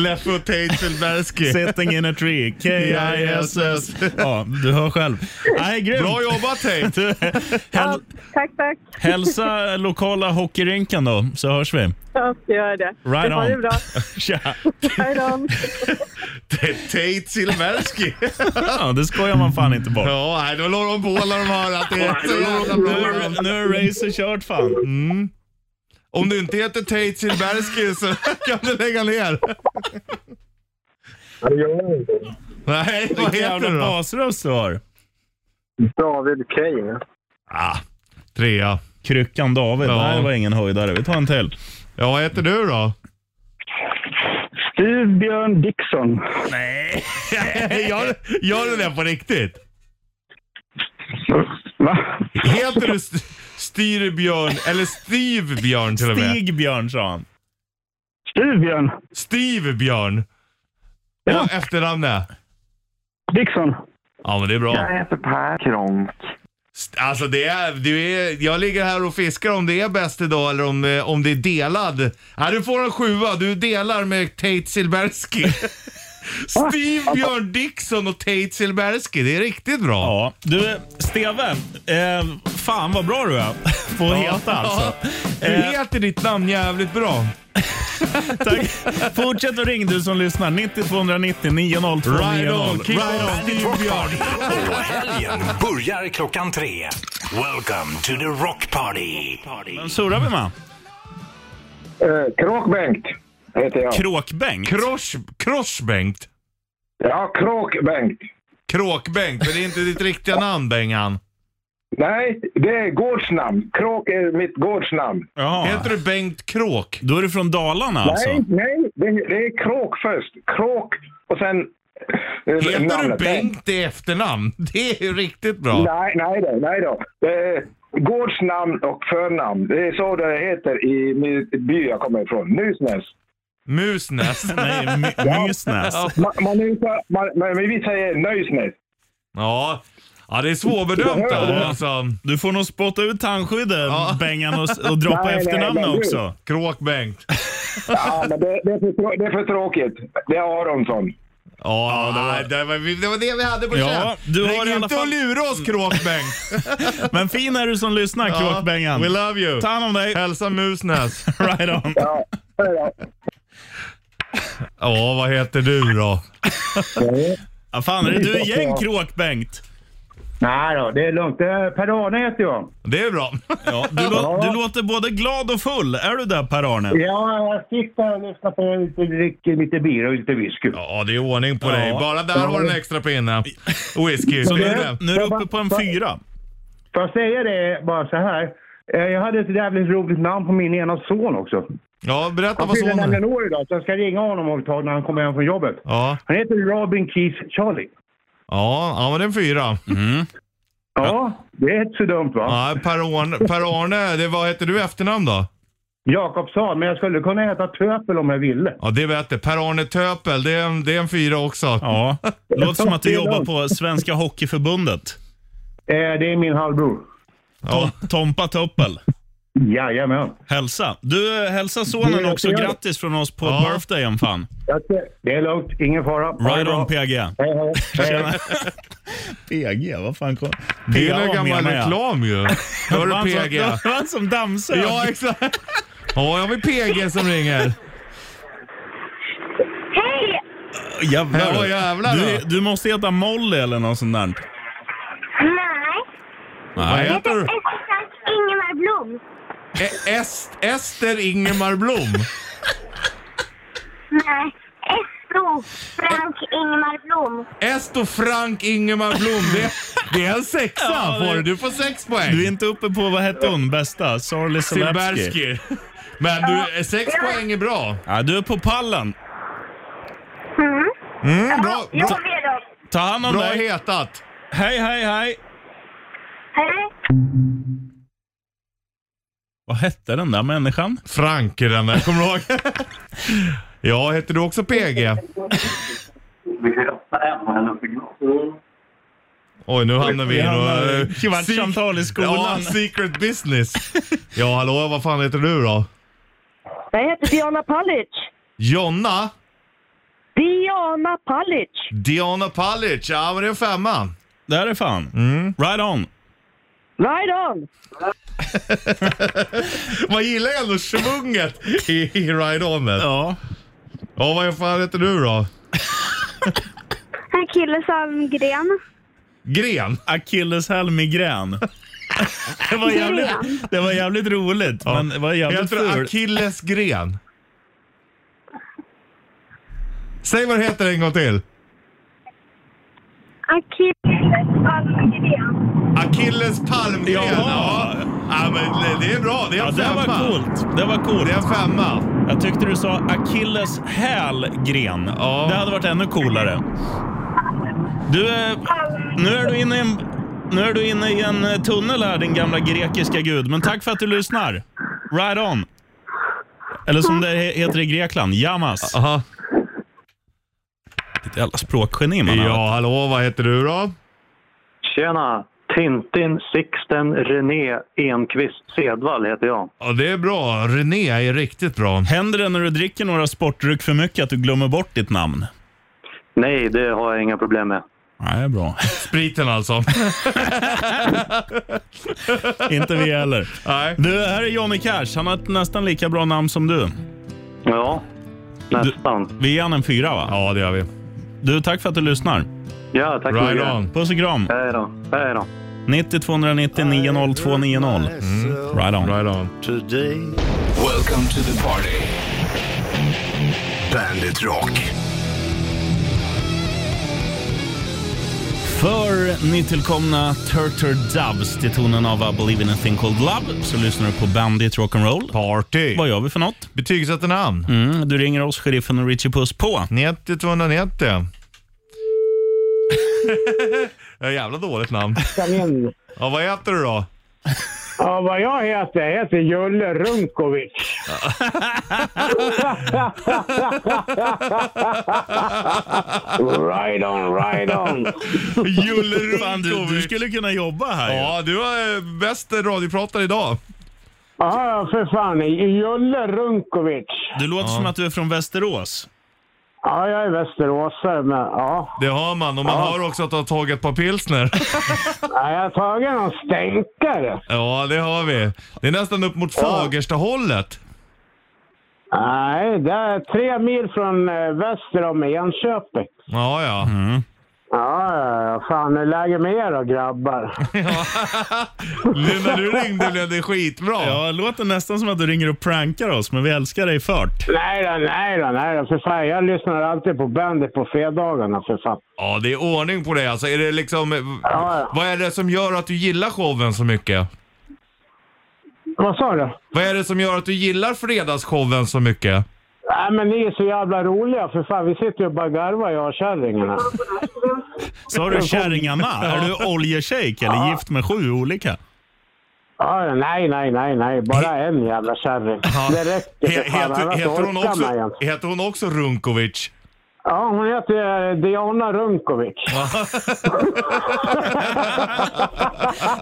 [SPEAKER 3] Leffe och Tate Silbersky.
[SPEAKER 2] Sitting in a tree, K-I-S-S. Ja, du hör själv. Nej, grymt.
[SPEAKER 3] Bra jobbat Tate.
[SPEAKER 2] Du, häl,
[SPEAKER 9] Tack, tack.
[SPEAKER 2] hälsa lokala hockeyrinken då, så hörs vi. [LAUGHS]
[SPEAKER 9] Ja, jag gör det.
[SPEAKER 2] Right
[SPEAKER 9] det var
[SPEAKER 2] on.
[SPEAKER 9] ju bra.
[SPEAKER 2] Tja.
[SPEAKER 6] [LAUGHS]
[SPEAKER 9] Hej då.
[SPEAKER 3] Tate Silbersky.
[SPEAKER 2] Ja, det skojar man fan inte bort.
[SPEAKER 3] Ja, nej, då lår de på när de hör att det är så jävla
[SPEAKER 2] Nu
[SPEAKER 3] bra. Mm.
[SPEAKER 2] är, nu är racer kört fan.
[SPEAKER 3] Om du inte heter Tate Silbersky så [LAUGHS] kan du lägga ner. Nej, vad
[SPEAKER 2] Vilken
[SPEAKER 3] heter
[SPEAKER 2] jävla
[SPEAKER 3] du då?
[SPEAKER 2] basröst du har.
[SPEAKER 5] David Kane.
[SPEAKER 3] Ah, trea.
[SPEAKER 2] Kryckan David,
[SPEAKER 3] Ja.
[SPEAKER 2] nej det var ingen höjdare. Vi tar en till.
[SPEAKER 3] Ja, vad heter du då?
[SPEAKER 5] Steve Björn Dixon.
[SPEAKER 3] Gör, gör du det på riktigt?
[SPEAKER 5] Va?
[SPEAKER 3] Heter du St- Styrbjörn, eller Stivbjörn till och med?
[SPEAKER 2] Stigbjörn sa han.
[SPEAKER 5] Steve Björn
[SPEAKER 3] Stivbjörn.
[SPEAKER 5] Ja.
[SPEAKER 3] Och efternamnet?
[SPEAKER 5] Dixon.
[SPEAKER 3] Ja, men det är bra.
[SPEAKER 7] Jag heter Per Kronk.
[SPEAKER 3] St- Alltså det är, du är, jag ligger här och fiskar om det är bäst idag eller om, eh, om det är delad. Ja, du får en sjua, du delar med Tate Silbersky. Steve Björn Dixon och Tate Silbersky, det är riktigt bra.
[SPEAKER 2] Ja, du Steve. Eh, fan vad bra du är [LAUGHS] på att heta alltså.
[SPEAKER 3] Du heter ditt namn jävligt bra.
[SPEAKER 2] Tack. Fortsätt att ring du som lyssnar. 90 290 90290.
[SPEAKER 3] Right on, keep on,
[SPEAKER 2] Steve Björn.
[SPEAKER 1] Och helgen börjar klockan tre. Welcome to the Rock Party.
[SPEAKER 2] Vem surrar vi med?
[SPEAKER 8] Eh, Kråkbengt heter jag.
[SPEAKER 2] Kråkbänk?
[SPEAKER 3] Krosh, Krosh-Bengt.
[SPEAKER 8] Ja, Kråkbengt.
[SPEAKER 3] Kråkbengt, men det är inte ditt riktiga namn Bengan.
[SPEAKER 8] Nej, det är gårdsnamn. Kråk är mitt gårdsnamn.
[SPEAKER 2] Jaha.
[SPEAKER 3] Heter du Bengt Kråk?
[SPEAKER 2] Då är du från Dalarna alltså?
[SPEAKER 8] Nej, nej, det, det är Kråk först. Kråk och sen... eh,
[SPEAKER 3] Heter du
[SPEAKER 8] namnet.
[SPEAKER 3] Bengt i efternamn? [LAUGHS] Det är ju riktigt bra.
[SPEAKER 8] Nej, nej då, nej då. Eh, gårdsnamn och förnamn. Det är så det heter i min by jag kommer ifrån, Nysnäs.
[SPEAKER 3] Musnäs.
[SPEAKER 2] Nej,
[SPEAKER 8] [LAUGHS]
[SPEAKER 2] my- Mysnäs.
[SPEAKER 8] Man, man, uttalar- man, man, men vi säger Nöjsnäs.
[SPEAKER 3] Ja. ja, det är svårbedömt det här alltså.
[SPEAKER 2] Du får nog spotta ut tandskydden,
[SPEAKER 3] Ja.
[SPEAKER 2] Bengan, och, s- och droppa
[SPEAKER 8] Nej, nej,
[SPEAKER 2] efternamn
[SPEAKER 8] men du-
[SPEAKER 2] också.
[SPEAKER 3] Kråk-Bengt.
[SPEAKER 8] Ja, men det, det, är för, trå- det är för tråkigt. Det är Aronsson.
[SPEAKER 3] Ja, det var det, var, vi- det, var det vi hade på
[SPEAKER 2] Ja,
[SPEAKER 3] känn.
[SPEAKER 2] du har
[SPEAKER 3] Ring
[SPEAKER 2] i alla
[SPEAKER 3] inte
[SPEAKER 2] fall-
[SPEAKER 3] och lura oss
[SPEAKER 2] [LAUGHS]
[SPEAKER 3] Kråk-Bengt.
[SPEAKER 2] Men fin är du som lyssnar,
[SPEAKER 3] Ja,
[SPEAKER 2] Kråkbengan.
[SPEAKER 3] We love you.
[SPEAKER 2] Ta hand om dig.
[SPEAKER 3] Hälsa Musnäs.
[SPEAKER 2] [LAUGHS] Right on.
[SPEAKER 8] Ja, det är det.
[SPEAKER 3] Ja, vad heter du då?
[SPEAKER 2] Ja, fan, är det du igen, Kråkbengt?
[SPEAKER 10] Nej då, det är lugnt. Det är Per-Arne heter jag.
[SPEAKER 3] Det är bra.
[SPEAKER 2] Ja, du, lå- du låter både glad och full. Är du där, Per-Arne?
[SPEAKER 10] Ja, jag sitter och lyssnar på er och dricker lite bira och lite whisky.
[SPEAKER 3] [LAUGHS] Ja, det är ordning på dig. Bara där har du en extra pinne. Whisky.
[SPEAKER 2] Så
[SPEAKER 3] det
[SPEAKER 2] nu,
[SPEAKER 3] är det.
[SPEAKER 2] nu är du uppe på en fyra.
[SPEAKER 10] Får jag säga det bara så här? Eh, Jag hade ett jävligt roligt namn på min ena son också.
[SPEAKER 3] Ja, berätta
[SPEAKER 10] Han
[SPEAKER 3] vad
[SPEAKER 10] fyller
[SPEAKER 3] sonen
[SPEAKER 10] nämligen år idag så jag ska ringa honom om ett tag när han kommer hem från jobbet.
[SPEAKER 3] Ja,
[SPEAKER 10] Han heter Robin Keith Charlie.
[SPEAKER 3] ja, ja men det är en fyra.
[SPEAKER 2] Mhm.
[SPEAKER 10] Ja, det är inte så dumt va?
[SPEAKER 3] Ja, Per-Arne, per Arne, det, vad heter du i efternamn då?
[SPEAKER 10] Jakobsson, men jag skulle kunna heta Töpel om jag ville.
[SPEAKER 3] Ja, det vet jag. Per-Arne Töpel, det är, en- det är en fyra
[SPEAKER 2] [LAUGHS]
[SPEAKER 3] också.
[SPEAKER 2] Ja. Låter som att du jobbar på Svenska Hockeyförbundet.
[SPEAKER 10] Eh, det är min halvbror.
[SPEAKER 2] Tom, Tompa Toppel.
[SPEAKER 10] Jajamän.
[SPEAKER 2] Hälsa. Du, eh, hälsa sonen
[SPEAKER 10] Det-
[SPEAKER 2] också.
[SPEAKER 10] det gör det.
[SPEAKER 2] Grattis från oss på
[SPEAKER 3] Ja.
[SPEAKER 2] birthdayen fan.
[SPEAKER 10] Jag ser- Det är lugnt, ingen fara. Ha det
[SPEAKER 2] Right
[SPEAKER 10] bra.
[SPEAKER 2] on PG.
[SPEAKER 10] Hej, [LAUGHS] hej. Hej.
[SPEAKER 2] Tjena. PG, vad fan kom...
[SPEAKER 3] Det är
[SPEAKER 2] PA
[SPEAKER 3] en gammal
[SPEAKER 2] menar jag. [LAUGHS]
[SPEAKER 3] reklam ju. Hör
[SPEAKER 2] Det var
[SPEAKER 3] du
[SPEAKER 2] han som- [LAUGHS]
[SPEAKER 3] PG?
[SPEAKER 2] det var han som dammsög.
[SPEAKER 3] Ja, exakt. Ja, jag har vi PG som ringer.
[SPEAKER 6] Hej!
[SPEAKER 2] jävlar.
[SPEAKER 3] Ja, jävlar,
[SPEAKER 2] du,
[SPEAKER 3] ja.
[SPEAKER 2] du måste heta Molly eller något sånt där.
[SPEAKER 6] Nej,
[SPEAKER 3] Vad heter du?
[SPEAKER 6] exakt Ingemar Blom.
[SPEAKER 3] E- Est- Ester Ingemar Blom.
[SPEAKER 6] Nej, Esko Frank Ingemar Blom.
[SPEAKER 3] Est och Frank Ingemar Blom. Det, det är en sexa
[SPEAKER 2] Ja, det-
[SPEAKER 3] får du. Du får sex
[SPEAKER 2] Du är
[SPEAKER 3] poäng.
[SPEAKER 2] inte uppe på, vad hette hon, bästa? Sarli Silbersky.
[SPEAKER 3] Silbersky. Men du, sex poäng är bra.
[SPEAKER 2] Ja, du är på pallen.
[SPEAKER 6] Mm.
[SPEAKER 3] Mm, bra,
[SPEAKER 6] Jo,
[SPEAKER 3] bra,
[SPEAKER 6] det är de.
[SPEAKER 2] Ta hand om
[SPEAKER 3] bra
[SPEAKER 2] dig.
[SPEAKER 3] hetat.
[SPEAKER 2] Hej, hej, hej.
[SPEAKER 6] Hej.
[SPEAKER 2] Vad hette den där människan?
[SPEAKER 3] Frank är den där, kommer du ihåg? [LAUGHS] Ja, heter du också PG? Oj, nu hamnar vi i några-
[SPEAKER 2] Kvartssamtal i
[SPEAKER 3] Ja,
[SPEAKER 2] skolan.
[SPEAKER 3] secret business. Ja, hallå, vad fan heter du då?
[SPEAKER 9] Jag heter Diana Palic.
[SPEAKER 3] Jonna?
[SPEAKER 9] Diana Palic.
[SPEAKER 3] Diana Palic. Ja, men det är en femma.
[SPEAKER 2] Där är fan.
[SPEAKER 3] Mm.
[SPEAKER 2] Right on.
[SPEAKER 9] Right on!
[SPEAKER 3] Man gillar ju ändå svunget i, i Ride On. Ja.
[SPEAKER 2] Ja.
[SPEAKER 3] ja, vad fan heter du då?
[SPEAKER 6] Akilles Almgren.
[SPEAKER 3] Gren?
[SPEAKER 2] Akilleshäl migrän. Det var jävligt, det var jävligt roligt, men det var jävligt
[SPEAKER 3] Heter du
[SPEAKER 2] fult.
[SPEAKER 3] Achilles Gren? Säg vad det heter en gång till.
[SPEAKER 6] Akilles Almgren.
[SPEAKER 3] Achilles Palmgren.
[SPEAKER 2] Jaha.
[SPEAKER 3] Ja. ja, men det är bra. Det är en
[SPEAKER 2] Ja, det
[SPEAKER 3] femma.
[SPEAKER 2] var coolt. Det var coolt.
[SPEAKER 3] Det är en femma.
[SPEAKER 2] Jag tyckte du sa Achilles hälgren.
[SPEAKER 3] Ja.
[SPEAKER 2] Det hade varit ännu coolare. Du, eh, nu är du inne i en, nu är du inne i en eh, tunnel här, din gamla grekiska gud. Men tack för att du lyssnar. Right on. Eller som det he- heter i Grekland, Yamas.
[SPEAKER 3] Aha.
[SPEAKER 2] Ett jävla språkgeni man har.
[SPEAKER 3] Ja, hallå, vad heter du då?
[SPEAKER 10] Tjena!
[SPEAKER 11] Tintin Sixten René Enqvist Sedvall heter jag.
[SPEAKER 3] Ja, det är bra. René är riktigt bra.
[SPEAKER 2] Händer det när du dricker några sportdryck för mycket att du glömmer bort ditt namn?
[SPEAKER 11] Nej, det har jag inga problem med.
[SPEAKER 2] Nej, bra.
[SPEAKER 3] Spriten alltså.
[SPEAKER 2] [LAUGHS] Inte vi heller. Nej. Du, här är Johnny Cash. Han har ett nästan lika bra namn som du.
[SPEAKER 11] Ja, nästan.
[SPEAKER 2] vi ger han en fyra, va?
[SPEAKER 3] Ja, det gör vi.
[SPEAKER 2] Du, tack för att du lyssnar.
[SPEAKER 11] Ja, tack
[SPEAKER 2] right on. Puss och kram.
[SPEAKER 11] Hej då. Hej då.
[SPEAKER 2] 90 290 90290. Right on.
[SPEAKER 3] Right on.
[SPEAKER 1] Today. Welcome to the party. Bandit Rock.
[SPEAKER 2] För nytillkomna Turtle Doves till tonen av I Believe in a thing called love så lyssnar du på Bandit Rock'n'Roll.
[SPEAKER 3] Party.
[SPEAKER 2] Vad gör vi för något?
[SPEAKER 3] Betygsätter namn.
[SPEAKER 2] Mm, du ringer oss, sheriffen och Richie Puss på.
[SPEAKER 3] 90 [LAUGHS] 290. det är jävla dåligt namn.
[SPEAKER 12] Kanin.
[SPEAKER 3] Ja, vad heter du då?
[SPEAKER 12] Ja, vad jag heter? Jag heter Julle Runkovic. right on, right on.
[SPEAKER 3] Julle
[SPEAKER 2] Fan, du, du skulle kunna jobba här. ju.
[SPEAKER 3] Ja, du var eh, bäst radiopratare idag.
[SPEAKER 12] Ja, för fan. Julle Runkovic.
[SPEAKER 2] Du låter som att du är från Västerås.
[SPEAKER 12] Ja, jag är västeråsare, men ja.
[SPEAKER 3] Det hör man. Och man hör också att du har tagit ett par pilsner.
[SPEAKER 12] ja jag har tagit någon stänkare.
[SPEAKER 3] ja, det har vi. Det är nästan upp mot Fagersta-hållet.
[SPEAKER 12] Nej, det är tre mil från eh, väster om Enköping.
[SPEAKER 3] Ja, ja.
[SPEAKER 12] Ja, ja, ja. Fan, hur läge med er då, grabbar?
[SPEAKER 3] Nu när du ringde blev det skitbra.
[SPEAKER 2] Ja, det låter nästan som att du ringer och prankar oss, men vi älskar dig fört.
[SPEAKER 12] Nej då, nej då, nej då. För fan, jag lyssnar alltid på bandet på fredagarna, för fan.
[SPEAKER 3] Ja, det är ordning på dig alltså. Är det liksom... Vad är det som gör att du gillar showen så mycket?
[SPEAKER 12] Vad sa du?
[SPEAKER 3] Vad är det som gör att du gillar fredagsshowen så mycket?
[SPEAKER 12] Nej, men ni är så jävla roliga, för fan. Vi sitter ju och bara garvar, jag och kärringarna.
[SPEAKER 2] Sa [LAUGHS] du kärringarna? Är du oljeshejk eller gift med sju olika?
[SPEAKER 12] Ja, ja, nej, nej, nej, nej. Bara en jävla kärring. Det räcker
[SPEAKER 3] He-
[SPEAKER 12] för fan,
[SPEAKER 3] heter,
[SPEAKER 12] annars
[SPEAKER 3] heter, hon
[SPEAKER 12] orkar man ju
[SPEAKER 3] också,
[SPEAKER 12] inte.
[SPEAKER 3] heter hon också Runkovic?
[SPEAKER 12] Ja, hon heter eh, Diana Runkovic.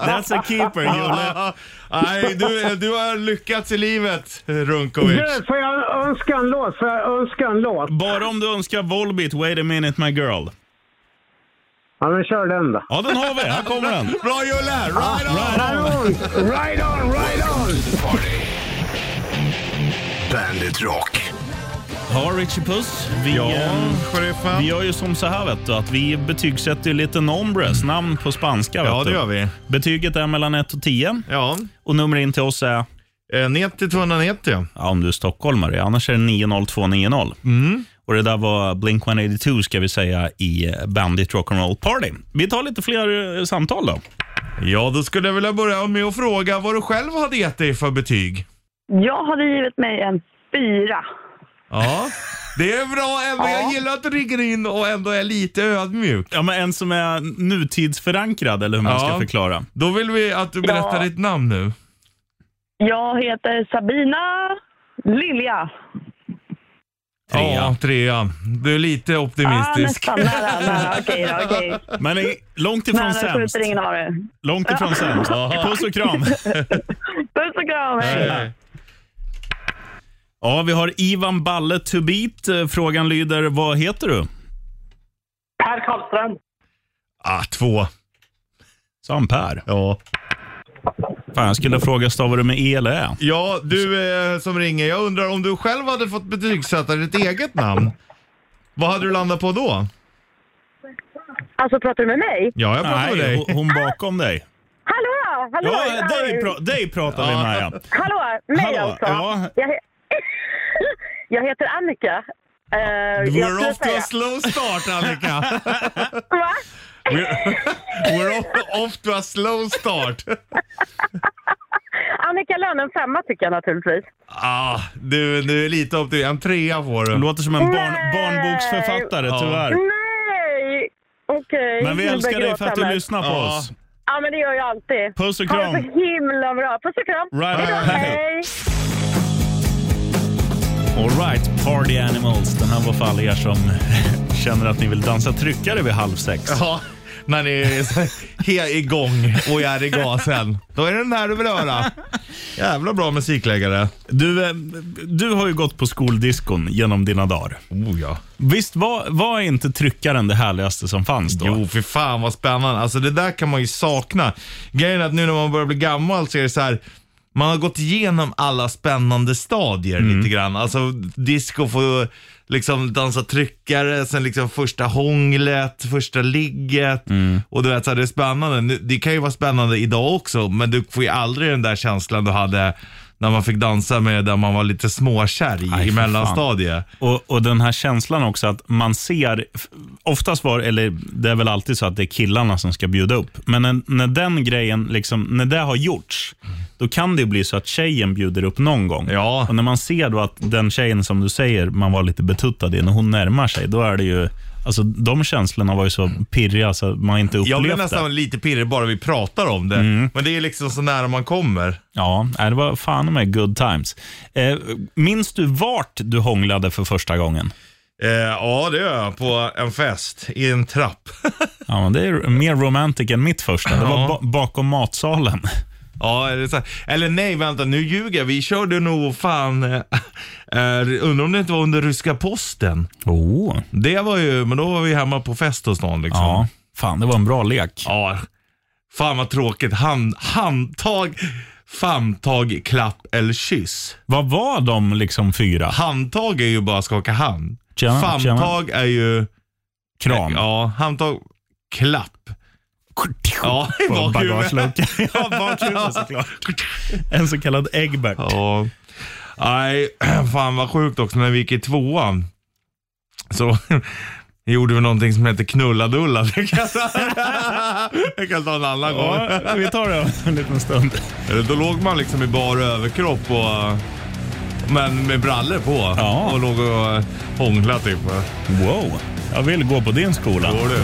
[SPEAKER 2] That's a keeper, Julle.
[SPEAKER 3] Nej, du, du har lyckats i livet, Runkovic.
[SPEAKER 12] Du, får jag önska en låt? Får jag önska en låt?
[SPEAKER 2] Bara om du önskar Volbeat, Wait a minute my girl.
[SPEAKER 12] Ja, men kör den då.
[SPEAKER 2] Ja, den har vi. Här kommer den.
[SPEAKER 3] Bra Julle!
[SPEAKER 12] Ah,
[SPEAKER 3] Right on!
[SPEAKER 12] Right on! Right on! Right on!
[SPEAKER 1] Party. Bandit Rock.
[SPEAKER 2] Ja, Richie Puss. Vi,
[SPEAKER 3] Ja,
[SPEAKER 2] eh,
[SPEAKER 3] sheriffen.
[SPEAKER 2] vi gör ju som så här, vet du, att vi betygsätter ju lite nombres, namn på spanska. Vet
[SPEAKER 3] Ja, det
[SPEAKER 2] du.
[SPEAKER 3] gör vi.
[SPEAKER 2] Betyget är mellan 1 och 10
[SPEAKER 3] Ja.
[SPEAKER 2] och numret in till oss är,
[SPEAKER 3] Eh, 90 290.
[SPEAKER 2] ja, om du är stockholmare, annars är det 90290. Och Det där var Blink 182 ska vi säga i eh, Bandit Rock'n'Roll Party. Vi tar lite fler eh, samtal då.
[SPEAKER 3] Ja, då skulle jag vilja börja med att fråga vad du själv hade gett dig för betyg.
[SPEAKER 6] Jag hade givit mig en fyra.
[SPEAKER 3] Ja. Det är bra, Emma. Jag gillar att du ringer in och ändå är lite ödmjuk.
[SPEAKER 2] Ja, men en som är nutidsförankrad eller hur man
[SPEAKER 3] Ja.
[SPEAKER 2] ska förklara.
[SPEAKER 3] Då vill vi att du berättar
[SPEAKER 6] Ja.
[SPEAKER 3] ditt namn nu.
[SPEAKER 6] Jag heter Sabina Lilja.
[SPEAKER 2] Trea.
[SPEAKER 3] Ja, trea. Du är lite
[SPEAKER 6] Ah,
[SPEAKER 3] optimistisk.
[SPEAKER 6] nästan. Nära,
[SPEAKER 2] [LAUGHS]
[SPEAKER 6] nära. Okej, då, okej.
[SPEAKER 2] Men eh, långt ifrån
[SPEAKER 6] Nära
[SPEAKER 2] sämst.
[SPEAKER 6] skjuter ingen av det.
[SPEAKER 2] Långt ifrån sämst. Puss och kram.
[SPEAKER 6] Puss och kram, hej!
[SPEAKER 3] Nej.
[SPEAKER 2] Ja, vi har Ivan Balle to beat. Eh, Frågan lyder, vad heter du?
[SPEAKER 5] Per Karlström.
[SPEAKER 3] Ah, två.
[SPEAKER 2] Sam Per.
[SPEAKER 3] Ja.
[SPEAKER 2] Fan, jag skulle fråga stavar du med E eller Ä?
[SPEAKER 3] Ja, du eh, som ringer. Jag undrar om du själv hade fått betygsätta ditt eget namn. Vad hade du landat på då?
[SPEAKER 9] Alltså pratar du med mig?
[SPEAKER 3] Ja, jag pratar
[SPEAKER 2] Nej,
[SPEAKER 3] med dig.
[SPEAKER 2] ho- hon bakom dig.
[SPEAKER 9] Hallå! Hallå!
[SPEAKER 2] Ja, dig, pra- dig pratar vi med. Ja.
[SPEAKER 9] Hallå! Mig
[SPEAKER 2] Hallå,
[SPEAKER 9] alltså?
[SPEAKER 2] ja.
[SPEAKER 9] Jag, he- [LAUGHS] jag heter Annika. Eh, jag
[SPEAKER 3] We're
[SPEAKER 9] skulle
[SPEAKER 3] off to
[SPEAKER 9] säga-
[SPEAKER 3] a slow start, Annika.
[SPEAKER 9] Va?
[SPEAKER 3] We're, we're off, off to a slow start.
[SPEAKER 9] Annika Lönn, en femma tycker jag naturligtvis.
[SPEAKER 3] Ah, du, du är lite optimistisk. En trea får
[SPEAKER 2] Det
[SPEAKER 3] du.
[SPEAKER 2] låter som en barn,
[SPEAKER 9] Nej.
[SPEAKER 2] barnboksförfattare,
[SPEAKER 3] Ja.
[SPEAKER 2] tyvärr.
[SPEAKER 9] Nej! Okej.
[SPEAKER 2] Men vi
[SPEAKER 9] nu
[SPEAKER 2] älskar
[SPEAKER 9] börjar jag
[SPEAKER 2] dig för att
[SPEAKER 9] gråta
[SPEAKER 2] du
[SPEAKER 9] här.
[SPEAKER 2] lyssnar på
[SPEAKER 3] Ja.
[SPEAKER 2] oss.
[SPEAKER 9] Ja, men det gör jag alltid.
[SPEAKER 2] Puss och
[SPEAKER 9] Ha det
[SPEAKER 2] kram.
[SPEAKER 9] så himla bra. Puss och kram.
[SPEAKER 2] Right. [LAUGHS]
[SPEAKER 9] Hejdå, hej.
[SPEAKER 2] Alright, Party [LAUGHS] Animals. Den här var för alla er som känner att ni vill dansa tryckare vid halv sex.
[SPEAKER 3] Ja, när ni är så he- igång och är i gasen. Då är det den här du vill höra. Jävla bra musikläggare.
[SPEAKER 2] Du, eh, du har ju gått på skoldiskon genom dina dagar.
[SPEAKER 3] Oh ja.
[SPEAKER 2] Visst var, var inte tryckaren det härligaste som fanns då?
[SPEAKER 3] Jo, för fan vad spännande. Alltså det där kan man ju sakna. Grejen är att nu när man börjar bli gammal så är det så här. Man har gått igenom alla spännande stadier
[SPEAKER 2] Mm.
[SPEAKER 3] lite grann. Alltså disco får liksom dansa tryckare, sen liksom första hånglet, första ligget.
[SPEAKER 2] Mm.
[SPEAKER 3] Och du vet så här, det är spännande. Nu- Det kan ju vara spännande idag också, men du får ju aldrig den där känslan du hade när man fick dansa med där man var lite småkär
[SPEAKER 2] Nej,
[SPEAKER 3] i
[SPEAKER 2] för
[SPEAKER 3] mellanstadiet.
[SPEAKER 2] fan. Och, och den här känslan också att man ser, f- oftast var, eller det är väl alltid så att det är killarna som ska bjuda upp, men när, när den grejen, liksom, när det har gjorts, då kan det ju bli så att tjejen bjuder upp någon gång. Ja. Och när man ser då att den tjejen som du säger, man var lite betuttad i, när hon närmar sig, då är det ju, alltså de känslorna var ju så pirriga så att man inte upplevt
[SPEAKER 3] Jag blir
[SPEAKER 2] det.
[SPEAKER 3] nästan lite pirrig bara vi pratar om det. Men det är liksom så nära man kommer.
[SPEAKER 2] Ja, nej, det var fan med good times. Eh, minns du vart du hånglade för första gången?
[SPEAKER 3] Eh, ja, det gör jag. På en fest i en trapp.
[SPEAKER 2] Ja, men det är mer romantic än mitt första. Det var
[SPEAKER 3] Ja.
[SPEAKER 2] ba- bakom matsalen.
[SPEAKER 3] [LAUGHS] Ja, eller, så här. eller nej, vänta, nu ljuger jag. Vi körde nog fan, eh, eh, undrar om det inte var under ryska posten.
[SPEAKER 2] [LAUGHS] Oh.
[SPEAKER 3] Det var ju, men då var vi hemma på fest hos någon liksom.
[SPEAKER 2] Ja, fan det var en bra lek.
[SPEAKER 3] Ja, fan vad tråkigt. Hand, handtag, famntag, klapp eller kyss.
[SPEAKER 2] Vad var de liksom fyra?
[SPEAKER 3] Handtag är ju bara skaka hand.
[SPEAKER 2] Tjena,
[SPEAKER 3] famntag är ju...
[SPEAKER 2] Kram.
[SPEAKER 3] Ja, handtag, klapp. Ja, i
[SPEAKER 2] På
[SPEAKER 3] bakhuvudet.
[SPEAKER 2] [LAUGHS] bagageluckan.
[SPEAKER 3] [LAUGHS] Ja, bakhuvudet
[SPEAKER 2] såklart. En så kallad Egbert.
[SPEAKER 3] Ja. Nej, fan vad sjukt också när vi gick i tvåan. Så [LAUGHS] gjorde vi någonting som heter knulladulla. [LAUGHS] Det kan jag ta- det kan jag ta en annan
[SPEAKER 2] Ja,
[SPEAKER 3] gång.
[SPEAKER 2] vi tar det om en liten stund.
[SPEAKER 3] Eller Då låg man liksom i bara överkropp och men med brallor på
[SPEAKER 2] Ja.
[SPEAKER 3] och låg och hånglade typ.
[SPEAKER 2] Wow, jag vill gå på din skola.
[SPEAKER 3] Går du?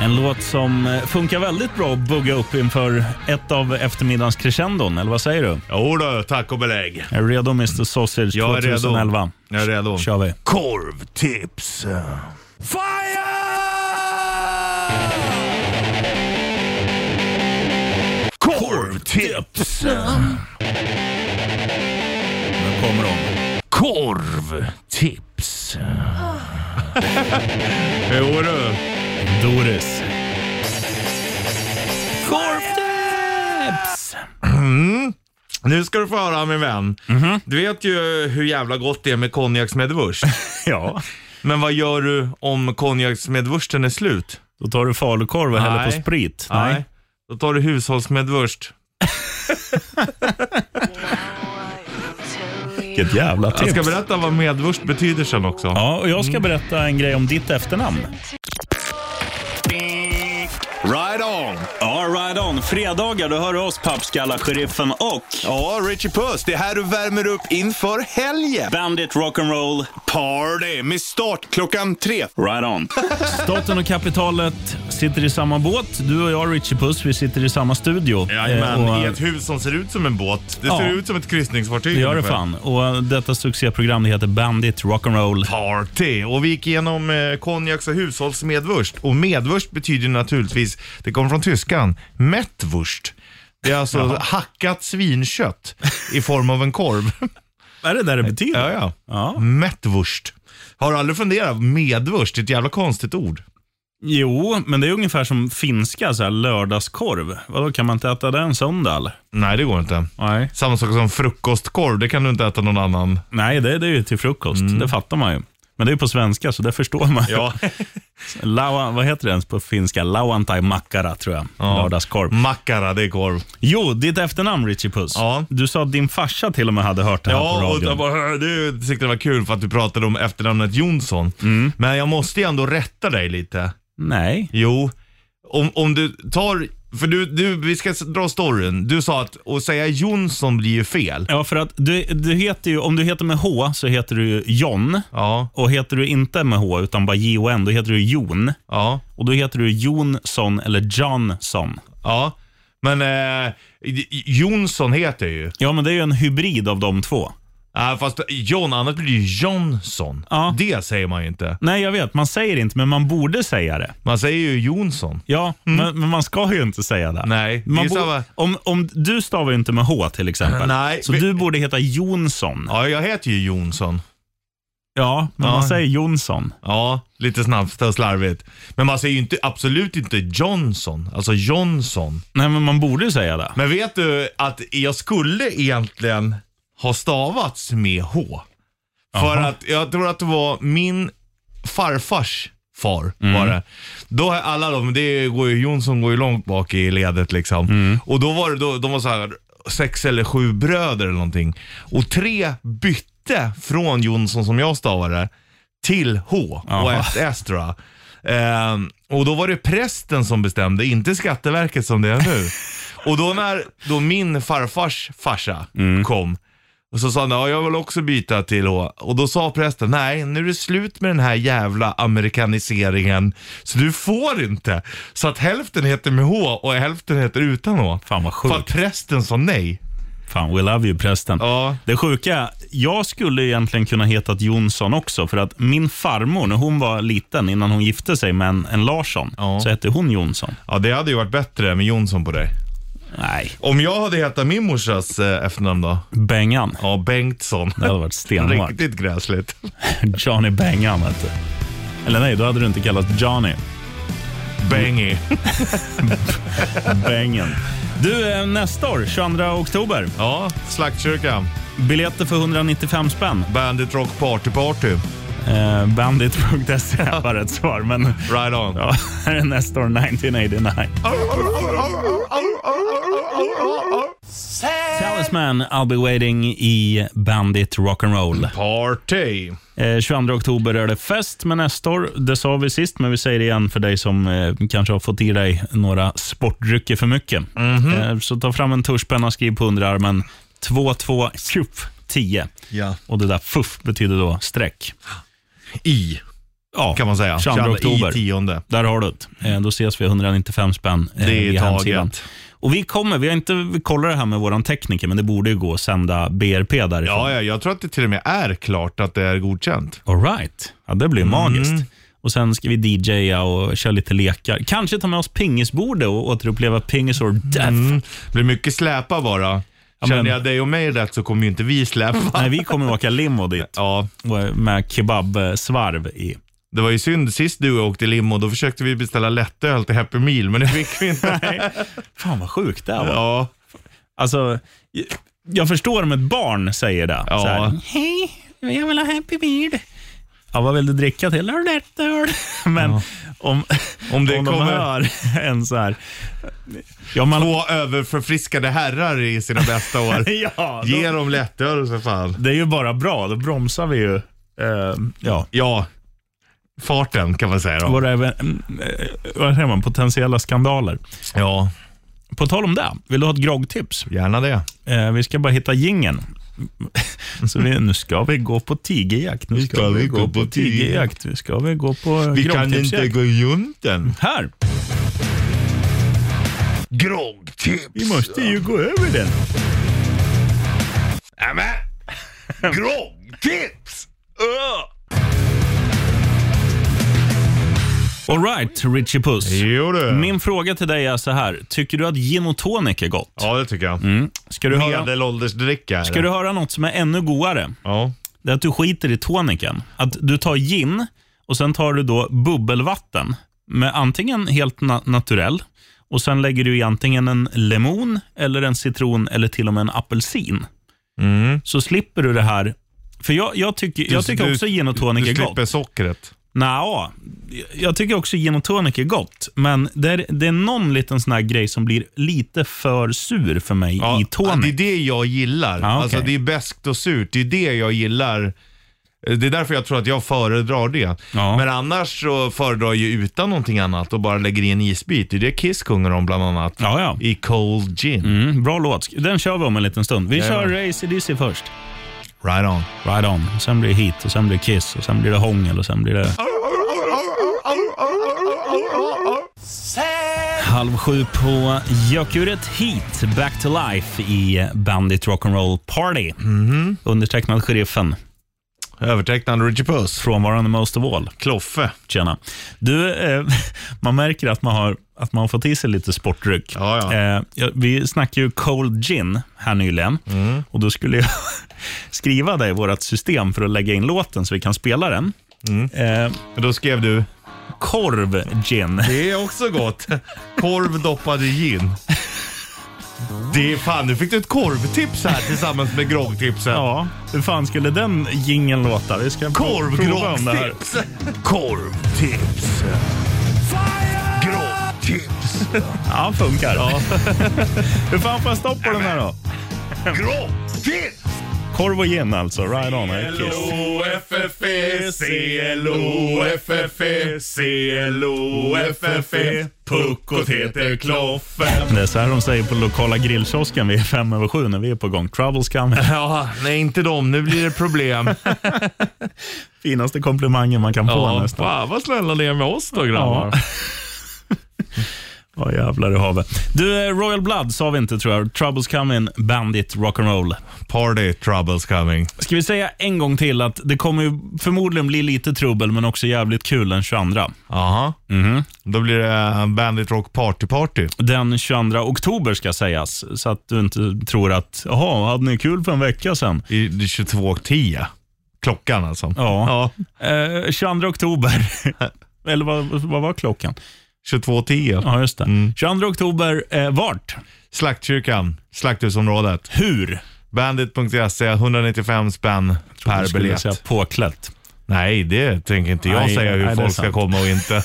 [SPEAKER 2] En låt som eh, funkar väldigt bra att bugga upp inför ett av eftermiddagens crescendon, eller vad säger du?
[SPEAKER 3] Jo då, tack och belägg.
[SPEAKER 2] Är du redo Mr Sausage
[SPEAKER 3] Jag är redo.
[SPEAKER 2] 2011?
[SPEAKER 3] Jag är redo.
[SPEAKER 2] kör vi.
[SPEAKER 3] Korvtips.
[SPEAKER 1] Korvtips!
[SPEAKER 2] Nu kommer de.
[SPEAKER 1] Korvtips!
[SPEAKER 3] Jo du.
[SPEAKER 2] Doris.
[SPEAKER 1] Korvtips!
[SPEAKER 3] Mm. Nu ska du få höra min vän.
[SPEAKER 1] Mhm.
[SPEAKER 3] Du vet ju hur jävla gott det är
[SPEAKER 1] [LAUGHS]
[SPEAKER 3] med konjaksmedvurst.
[SPEAKER 2] Ja.
[SPEAKER 3] Men vad gör du om konjaksmedvursten är slut?
[SPEAKER 2] Då tar du falukorv och häller
[SPEAKER 3] Nej.
[SPEAKER 2] på sprit.
[SPEAKER 3] Nej. Då tar du hushållsmedvurst.
[SPEAKER 2] Vilket jävla tips.
[SPEAKER 3] Jag ska berätta vad medvurst betyder sen också.
[SPEAKER 2] Ja, och jag ska berätta en grej om ditt efternamn.
[SPEAKER 1] Right on!
[SPEAKER 2] Ja, right on. Fredagar, då hör du oss, pappskalla-sheriffen och
[SPEAKER 1] Ja, Richie Puss, det är här du värmer upp inför helgen.
[SPEAKER 2] Bandit Rock'n'Roll.
[SPEAKER 1] Party med start klockan tre.
[SPEAKER 2] Right on. Staten och kapitalet sitter i samma båt. Du och jag, Richie Puss, vi sitter i samma studio.
[SPEAKER 3] Jajamän,
[SPEAKER 2] Eh, och-
[SPEAKER 3] i ett hus som ser ut som en båt. Det
[SPEAKER 2] Ja.
[SPEAKER 3] ser ut som ett kryssningsfartyg.
[SPEAKER 2] Det gör det
[SPEAKER 3] ungefär.
[SPEAKER 2] fan. Och detta succéprogram det heter Bandit Rock'n'Roll.
[SPEAKER 3] Party! Och vi gick igenom eh, konjaks och hushållsmedvurst. Och medvurst betyder naturligtvis, det kommer från tyskan, mättwurst. Det är [LAUGHS] alltså hackat svinkött i form av en korv.
[SPEAKER 2] Är det där det betyder?
[SPEAKER 3] [LAUGHS] Ja, ja.
[SPEAKER 2] Ja.
[SPEAKER 3] Mättwurst. Har du aldrig funderat? Medvurst, det är ett jävla konstigt ord.
[SPEAKER 2] Jo, men det är ungefär som finska så här lördagskorv. Vadå, kan man inte äta det en söndag? eller?
[SPEAKER 3] Nej, det går inte.
[SPEAKER 2] Nej.
[SPEAKER 3] Samma sak som frukostkorv, det kan du inte äta någon annan.
[SPEAKER 2] Nej, det, det är ju till frukost. Det fattar man ju. Men det är ju på svenska, så det förstår man ju. [LAUGHS]
[SPEAKER 3] [LAUGHS]
[SPEAKER 2] Laua, vad heter det ens på finska? Lauantai makkara, tror jag. Lördagskorv.
[SPEAKER 3] Makara, det är korv.
[SPEAKER 2] Jo, ditt efternamn Richie Puss.
[SPEAKER 3] Ja.
[SPEAKER 2] Du sa att din farsa till och med hade hört det här på
[SPEAKER 3] Ja, och
[SPEAKER 2] radion.
[SPEAKER 3] jag bara, du tyckte det var kul för att du pratade om efternamnet Jonsson. Men jag måste ju ändå rätta dig lite.
[SPEAKER 2] Nej.
[SPEAKER 3] Jo, om, om du tar, för du, du, vi ska s- dra storyn. Du sa att att säga Jonsson blir ju fel.
[SPEAKER 2] Ja, för att du, du heter ju, om du heter med H så heter du ju John.
[SPEAKER 3] Ja,
[SPEAKER 2] Och heter du inte med H utan bara J-O-N, då heter du Jon.
[SPEAKER 3] ja,
[SPEAKER 2] Och då heter du Jonsson eller Johnson.
[SPEAKER 3] ja. Men eh, J- Jonsson heter ju.
[SPEAKER 2] Ja, men det är ju en hybrid av de två.
[SPEAKER 3] Nej, fast John, annars blir det ju Johnson. Det säger man ju inte.
[SPEAKER 2] Nej, jag vet. Man säger inte, men man borde säga det.
[SPEAKER 3] Man säger ju Jonsson.
[SPEAKER 2] Ja, men, men man ska ju inte säga det.
[SPEAKER 3] Mm. Nej,
[SPEAKER 2] man
[SPEAKER 3] det är
[SPEAKER 2] bo-
[SPEAKER 3] samma-
[SPEAKER 2] om, om Du stavar ju inte med H till exempel.
[SPEAKER 3] Nej,
[SPEAKER 2] så
[SPEAKER 3] vi-
[SPEAKER 2] du borde heta Jonsson.
[SPEAKER 3] Ja, jag heter ju Jonsson.
[SPEAKER 2] Ja, men man säger Jonsson.
[SPEAKER 3] Ja, lite snabbt och slarvigt. Men man säger ju inte, absolut inte Johnson, alltså Johnson.
[SPEAKER 2] Nej, men man borde ju säga det.
[SPEAKER 3] Men vet du att jag skulle egentligen ha stavats med H. För
[SPEAKER 2] Jaha.
[SPEAKER 3] att jag tror att det var min farfars far var det. Då är alla de, det går ju, Jonsson går ju långt bak i ledet liksom. Och då var det, då, de var så här sex eller sju bröder eller någonting. Och tre bytte från Jonsson som jag stavade till H och
[SPEAKER 2] Jaha.
[SPEAKER 3] ett S tror jag. Ehm, och då var det prästen som bestämde, inte Skatteverket som det är nu. och då när då min farfars farsa kom, och så sa han, ja jag vill också byta till H. Och då sa prästen, nej nu är det slut med den här jävla amerikaniseringen. Så du får inte. Så att hälften heter med H och hälften heter utan H.
[SPEAKER 2] Fan vad sjukt.
[SPEAKER 3] För att prästen sa nej.
[SPEAKER 2] Fan, we love you prästen.
[SPEAKER 3] Ja.
[SPEAKER 2] Det sjuka, jag skulle egentligen kunna hetat Jonsson också för att min farmor, när hon var liten, innan hon gifte sig med en, en Larsson, så hette hon Jonsson.
[SPEAKER 3] Ja det hade ju varit bättre med Jonsson på dig.
[SPEAKER 2] Nej.
[SPEAKER 3] Om jag hade hetat min morsas eh, efternamn då?
[SPEAKER 2] Bengan.
[SPEAKER 3] Ja, Bengtsson. [LAUGHS]
[SPEAKER 2] Det hade varit stenhårt.
[SPEAKER 3] Riktigt gräsligt.
[SPEAKER 2] Johnny Bengan vet du. Eller nej, då hade du inte kallat Johnny.
[SPEAKER 3] Bengy.
[SPEAKER 2] Bengen. Du, eh, nästa år, 22 oktober.
[SPEAKER 3] Ja, Slaktkyrkan.
[SPEAKER 2] Biljetter för 195 spänn.
[SPEAKER 3] Bandit Rock Party Party.
[SPEAKER 2] Eh, Bandit.se E var rätt svar, men...
[SPEAKER 3] Right on.
[SPEAKER 2] Ja, [LAUGHS] här är nästa år, 1989. Talisman, I'll be waiting i Bandit Rock'n'Roll.
[SPEAKER 3] Party!
[SPEAKER 2] Eh, 22 oktober är det fest med Nestor. Det sa vi sist, men vi säger det igen för dig som eh, kanske har fått i dig några sportdrycker för mycket. Eh, så ta fram en tuschpenna, skriv på underarmen 22 tjup, 10.
[SPEAKER 3] Ja.
[SPEAKER 2] Och det där fuff betyder då streck.
[SPEAKER 3] I,
[SPEAKER 2] Ja,
[SPEAKER 3] kan man säga.
[SPEAKER 2] 22 oktober.
[SPEAKER 3] I tionde.
[SPEAKER 2] Där har du det. Eh, Då ses vi 195 spänn eh,
[SPEAKER 3] Det är
[SPEAKER 2] via hemsidan.
[SPEAKER 3] taget.
[SPEAKER 2] Och vi kommer, vi har inte vi kollar det här med vår tekniker, men det borde ju gå att sända BRP därifrån.
[SPEAKER 3] Ja, ja, jag tror att det till och med är klart att det är godkänt.
[SPEAKER 2] All right. Ja, det blir magiskt. Och Sen ska vi DJa och köra lite lekar. Kanske ta med oss pingisbordet och återuppleva pingis or death.
[SPEAKER 3] Det blir mycket släpa bara.
[SPEAKER 2] Ja,
[SPEAKER 3] Känner
[SPEAKER 2] men- Mm.
[SPEAKER 3] jag dig och mig rätt så kommer ju inte vi släpa.
[SPEAKER 2] Nej, vi kommer åka limo dit
[SPEAKER 3] [LAUGHS] Ja,
[SPEAKER 2] och med kebabsvarv i.
[SPEAKER 3] det var ju synd. Sist du åkte limo, då försökte vi beställa lättöl till Happy Meal, men det fick
[SPEAKER 2] [LAUGHS]
[SPEAKER 3] vi inte.
[SPEAKER 2] Fan vad sjukt det här var.
[SPEAKER 3] Ja,
[SPEAKER 2] Alltså, jag- jag förstår om ett barn säger det.
[SPEAKER 3] Ja.
[SPEAKER 2] Så här, Hej, jag vill ha Happy Meal. Ja, vad vill du dricka till? Har du lätt öl? [LAUGHS] Men om,
[SPEAKER 3] Om det
[SPEAKER 2] de
[SPEAKER 3] kommer-
[SPEAKER 2] hör en så här... Ja, man,
[SPEAKER 3] två överförfriskade herrar i sina bästa år.
[SPEAKER 2] [LAUGHS] ja, då,
[SPEAKER 3] Ge dem lättöl för fan.
[SPEAKER 2] det är ju bara bra. Då bromsar vi ju. eh, ja.
[SPEAKER 3] Ja, farten kan man säga då.
[SPEAKER 2] Våra, eh, vad säger man, potentiella skandaler.
[SPEAKER 3] Ja,
[SPEAKER 2] På tal om det, vill du ha ett groggtips?
[SPEAKER 3] gärna det.
[SPEAKER 2] Eh, vi ska bara hitta gingen. [LAUGHS] Så vi, nu ska vi gå på tigerjakt. Nu ska, vi gå på tigerjakt. Nu ska vi gå på eh,
[SPEAKER 3] Vi kan inte
[SPEAKER 2] groggtipsjakt.
[SPEAKER 3] gå runt den.
[SPEAKER 2] Här!
[SPEAKER 1] Groggtips!
[SPEAKER 2] Vi måste ju gå över den.
[SPEAKER 1] Nämen!
[SPEAKER 2] [LAUGHS]
[SPEAKER 1] Groggtips!
[SPEAKER 2] All right, Richie Puss.
[SPEAKER 3] Jo du.
[SPEAKER 2] Min fråga till dig är så här. Tycker du att gin och tonic är gott?
[SPEAKER 3] Ja, det tycker jag.
[SPEAKER 2] Ska du, höra,
[SPEAKER 3] Medelåldersdricka. är
[SPEAKER 2] Mm. ska
[SPEAKER 3] det.
[SPEAKER 2] du höra något som är ännu godare?
[SPEAKER 3] Ja.
[SPEAKER 2] Det är att du skiter i toniken. Att du tar gin och sen tar du då bubbelvatten med antingen helt na- naturell och sen lägger du i antingen en lemon eller en citron eller till och med en apelsin. Så slipper du det här. För jag, jag tycker, jag
[SPEAKER 3] Mm. Du-
[SPEAKER 2] tycker
[SPEAKER 3] du-
[SPEAKER 2] också gin och tonic
[SPEAKER 3] Du
[SPEAKER 2] är
[SPEAKER 3] slipper
[SPEAKER 2] gott.
[SPEAKER 3] sockret.
[SPEAKER 2] Nja, jag tycker också gin och tonic är gott, men det är, det är någon liten sån här grej som blir lite för sur för mig i
[SPEAKER 3] det är
[SPEAKER 2] tonic.
[SPEAKER 3] det jag gillar.
[SPEAKER 2] Ja, okej.
[SPEAKER 3] Alltså det är beskt och surt. Det är det jag gillar. Eh, Det är därför jag tror att jag föredrar det.
[SPEAKER 2] Ja.
[SPEAKER 3] Men annars så föredrar jag ju utan någonting annat och bara lägger i en isbit. Det är det Kiss sjunger om bland annat.
[SPEAKER 2] Ja, ja.
[SPEAKER 3] I Cold Gin.
[SPEAKER 2] Mm, bra låt. Den kör vi om en liten stund. Vi
[SPEAKER 3] Jajamän.
[SPEAKER 2] kör AC/DC först.
[SPEAKER 3] Right on.
[SPEAKER 2] Right on. Sen blir det hit och sen blir det Kiss och sen blir det hångel och sen blir det... Halv sju på Gökuret Heat, Back to Life i Bandit Rock'n'Roll Party. Undertecknad Sheriffen.
[SPEAKER 3] Övertecknad Richie Puss.
[SPEAKER 2] Frånvarande Most of All.
[SPEAKER 3] Kloffe.
[SPEAKER 2] Tjena. Du, eh, [LAUGHS] man märker att man har att man får till sig lite sportdryck. Eh, ja, vi snackade ju cold gin här nyligen och då skulle jag [LAUGHS] skriva det i vårt system för att lägga in låten så vi kan spela den. Mm. Eh,
[SPEAKER 3] då skrev du?
[SPEAKER 2] Korv gin.
[SPEAKER 3] Det är också gott. [LAUGHS] Korv doppad i gin. Det är fan, nu fick du ett korvtips här tillsammans med
[SPEAKER 2] [LAUGHS]
[SPEAKER 3] groggtipsen.
[SPEAKER 2] Ja, hur fan skulle den gingen låta? Vi ska prova om det här.
[SPEAKER 3] Korvgroggtips! Korvtips! Groggtips!
[SPEAKER 2] Ja, funkar. [LAUGHS] Hur fan får jag stopp på den här då?
[SPEAKER 3] Groggtips!
[SPEAKER 2] Korv och gin alltså, right on. eh, Kiss.
[SPEAKER 3] L-O-F-F-E, C-L-O-F-F-E, C-L-O-F-F-E, Puckot heter Kloffe.
[SPEAKER 2] Det är så här de säger på lokala grillkiosken vid fem över sju när vi [LAUGHS] är på gång. Troubles coming.
[SPEAKER 3] Ja, nej inte dem. Nu blir det [LAUGHS] problem.
[SPEAKER 2] Finaste komplimangen man kan få
[SPEAKER 3] Ja,
[SPEAKER 2] nästan.
[SPEAKER 3] fan vad snälla ni är med oss då grabbar.
[SPEAKER 2] Ja, jävlar i havet. Du, eh, Royal Blood sa vi inte tror jag. Troubles coming, bandit, rock'n'roll.
[SPEAKER 3] Party troubles coming.
[SPEAKER 2] Ska vi säga en gång till att det kommer ju förmodligen bli lite trubbel men också jävligt kul den 22.
[SPEAKER 3] Jaha. Då blir det eh, Bandit Rock Party Party.
[SPEAKER 2] Den 22 oktober ska sägas, så att du inte tror att jaha, hade ni kul för en vecka sedan?
[SPEAKER 3] I det är 22.10. Klockan alltså.
[SPEAKER 2] Ja. Eh, 22 oktober. [LAUGHS] Eller vad, vad var klockan?
[SPEAKER 3] 22.10.
[SPEAKER 2] Ja, just det. 22 oktober, eh, vart?
[SPEAKER 3] Slaktkyrkan, Slakthusområdet.
[SPEAKER 2] Hur?
[SPEAKER 3] Bandit.se, 195 spänn
[SPEAKER 2] du
[SPEAKER 3] per
[SPEAKER 2] skulle
[SPEAKER 3] biljett.
[SPEAKER 2] säga påklätt.
[SPEAKER 3] Nej, det tänker inte jag
[SPEAKER 2] Nej,
[SPEAKER 3] säga hur
[SPEAKER 2] nej, det är
[SPEAKER 3] folk
[SPEAKER 2] sant.
[SPEAKER 3] ska komma och
[SPEAKER 2] [LAUGHS]
[SPEAKER 3] inte.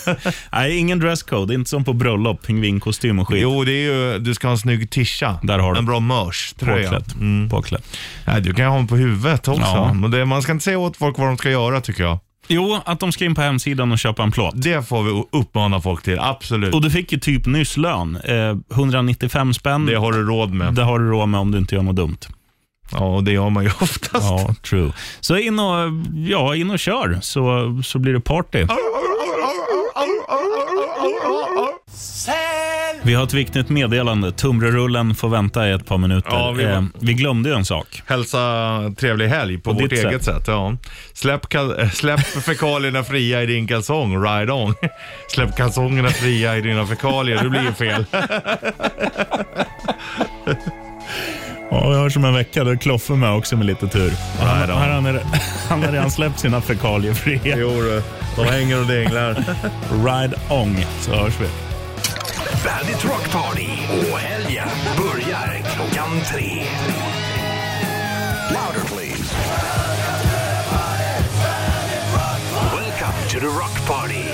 [SPEAKER 2] Nej, ingen dresscode. Inte som på bröllop, pingvinkostym och skit.
[SPEAKER 3] jo, det är ju, du ska ha en snygg tisha.
[SPEAKER 2] Där har du.
[SPEAKER 3] En bra mörströja.
[SPEAKER 2] Påklätt. Mm. Påklätt.
[SPEAKER 3] Nej, du kan ju ha den på huvudet också.
[SPEAKER 2] Ja.
[SPEAKER 3] Men det, man ska inte säga åt folk vad de ska göra tycker jag.
[SPEAKER 2] Jo, att de ska in på hemsidan och köpa en plåt.
[SPEAKER 3] Det får vi uppmana folk till, absolut.
[SPEAKER 2] Och du fick ju typ nyss lön. Eh, 195 spänn.
[SPEAKER 3] Det har du råd med.
[SPEAKER 2] Det har du råd med om du inte gör något dumt.
[SPEAKER 3] Ja, och det gör man ju [LAUGHS] oftast.
[SPEAKER 2] Ja, true. Så in och, ja, in och kör så, så blir det party. Vi har ett viktigt meddelande. Tumrerullen får vänta i ett par minuter.
[SPEAKER 3] Ja, vi-
[SPEAKER 2] Eh, vi glömde ju en sak.
[SPEAKER 3] Hälsa trevlig helg på,
[SPEAKER 2] På
[SPEAKER 3] vårt
[SPEAKER 2] ditt
[SPEAKER 3] eget sätt. ja. Släpp, kal- äh, släpp [LAUGHS] fekalierna fria i din kalsong, ride on. Släpp kalsongerna fria i dina fekalier, det blir ju fel.
[SPEAKER 2] Ja, vi hörs om en vecka. Då är Kloffe med också med lite tur. Han, han, han, han har redan släppt sina fekalier fria.
[SPEAKER 3] Jo du, de hänger och [LAUGHS] dinglar.
[SPEAKER 2] Ride on, så hörs vi.
[SPEAKER 1] Bandit Rock Party och helgen börjar klockan tre. Louder please. Welcome to the Rock Party.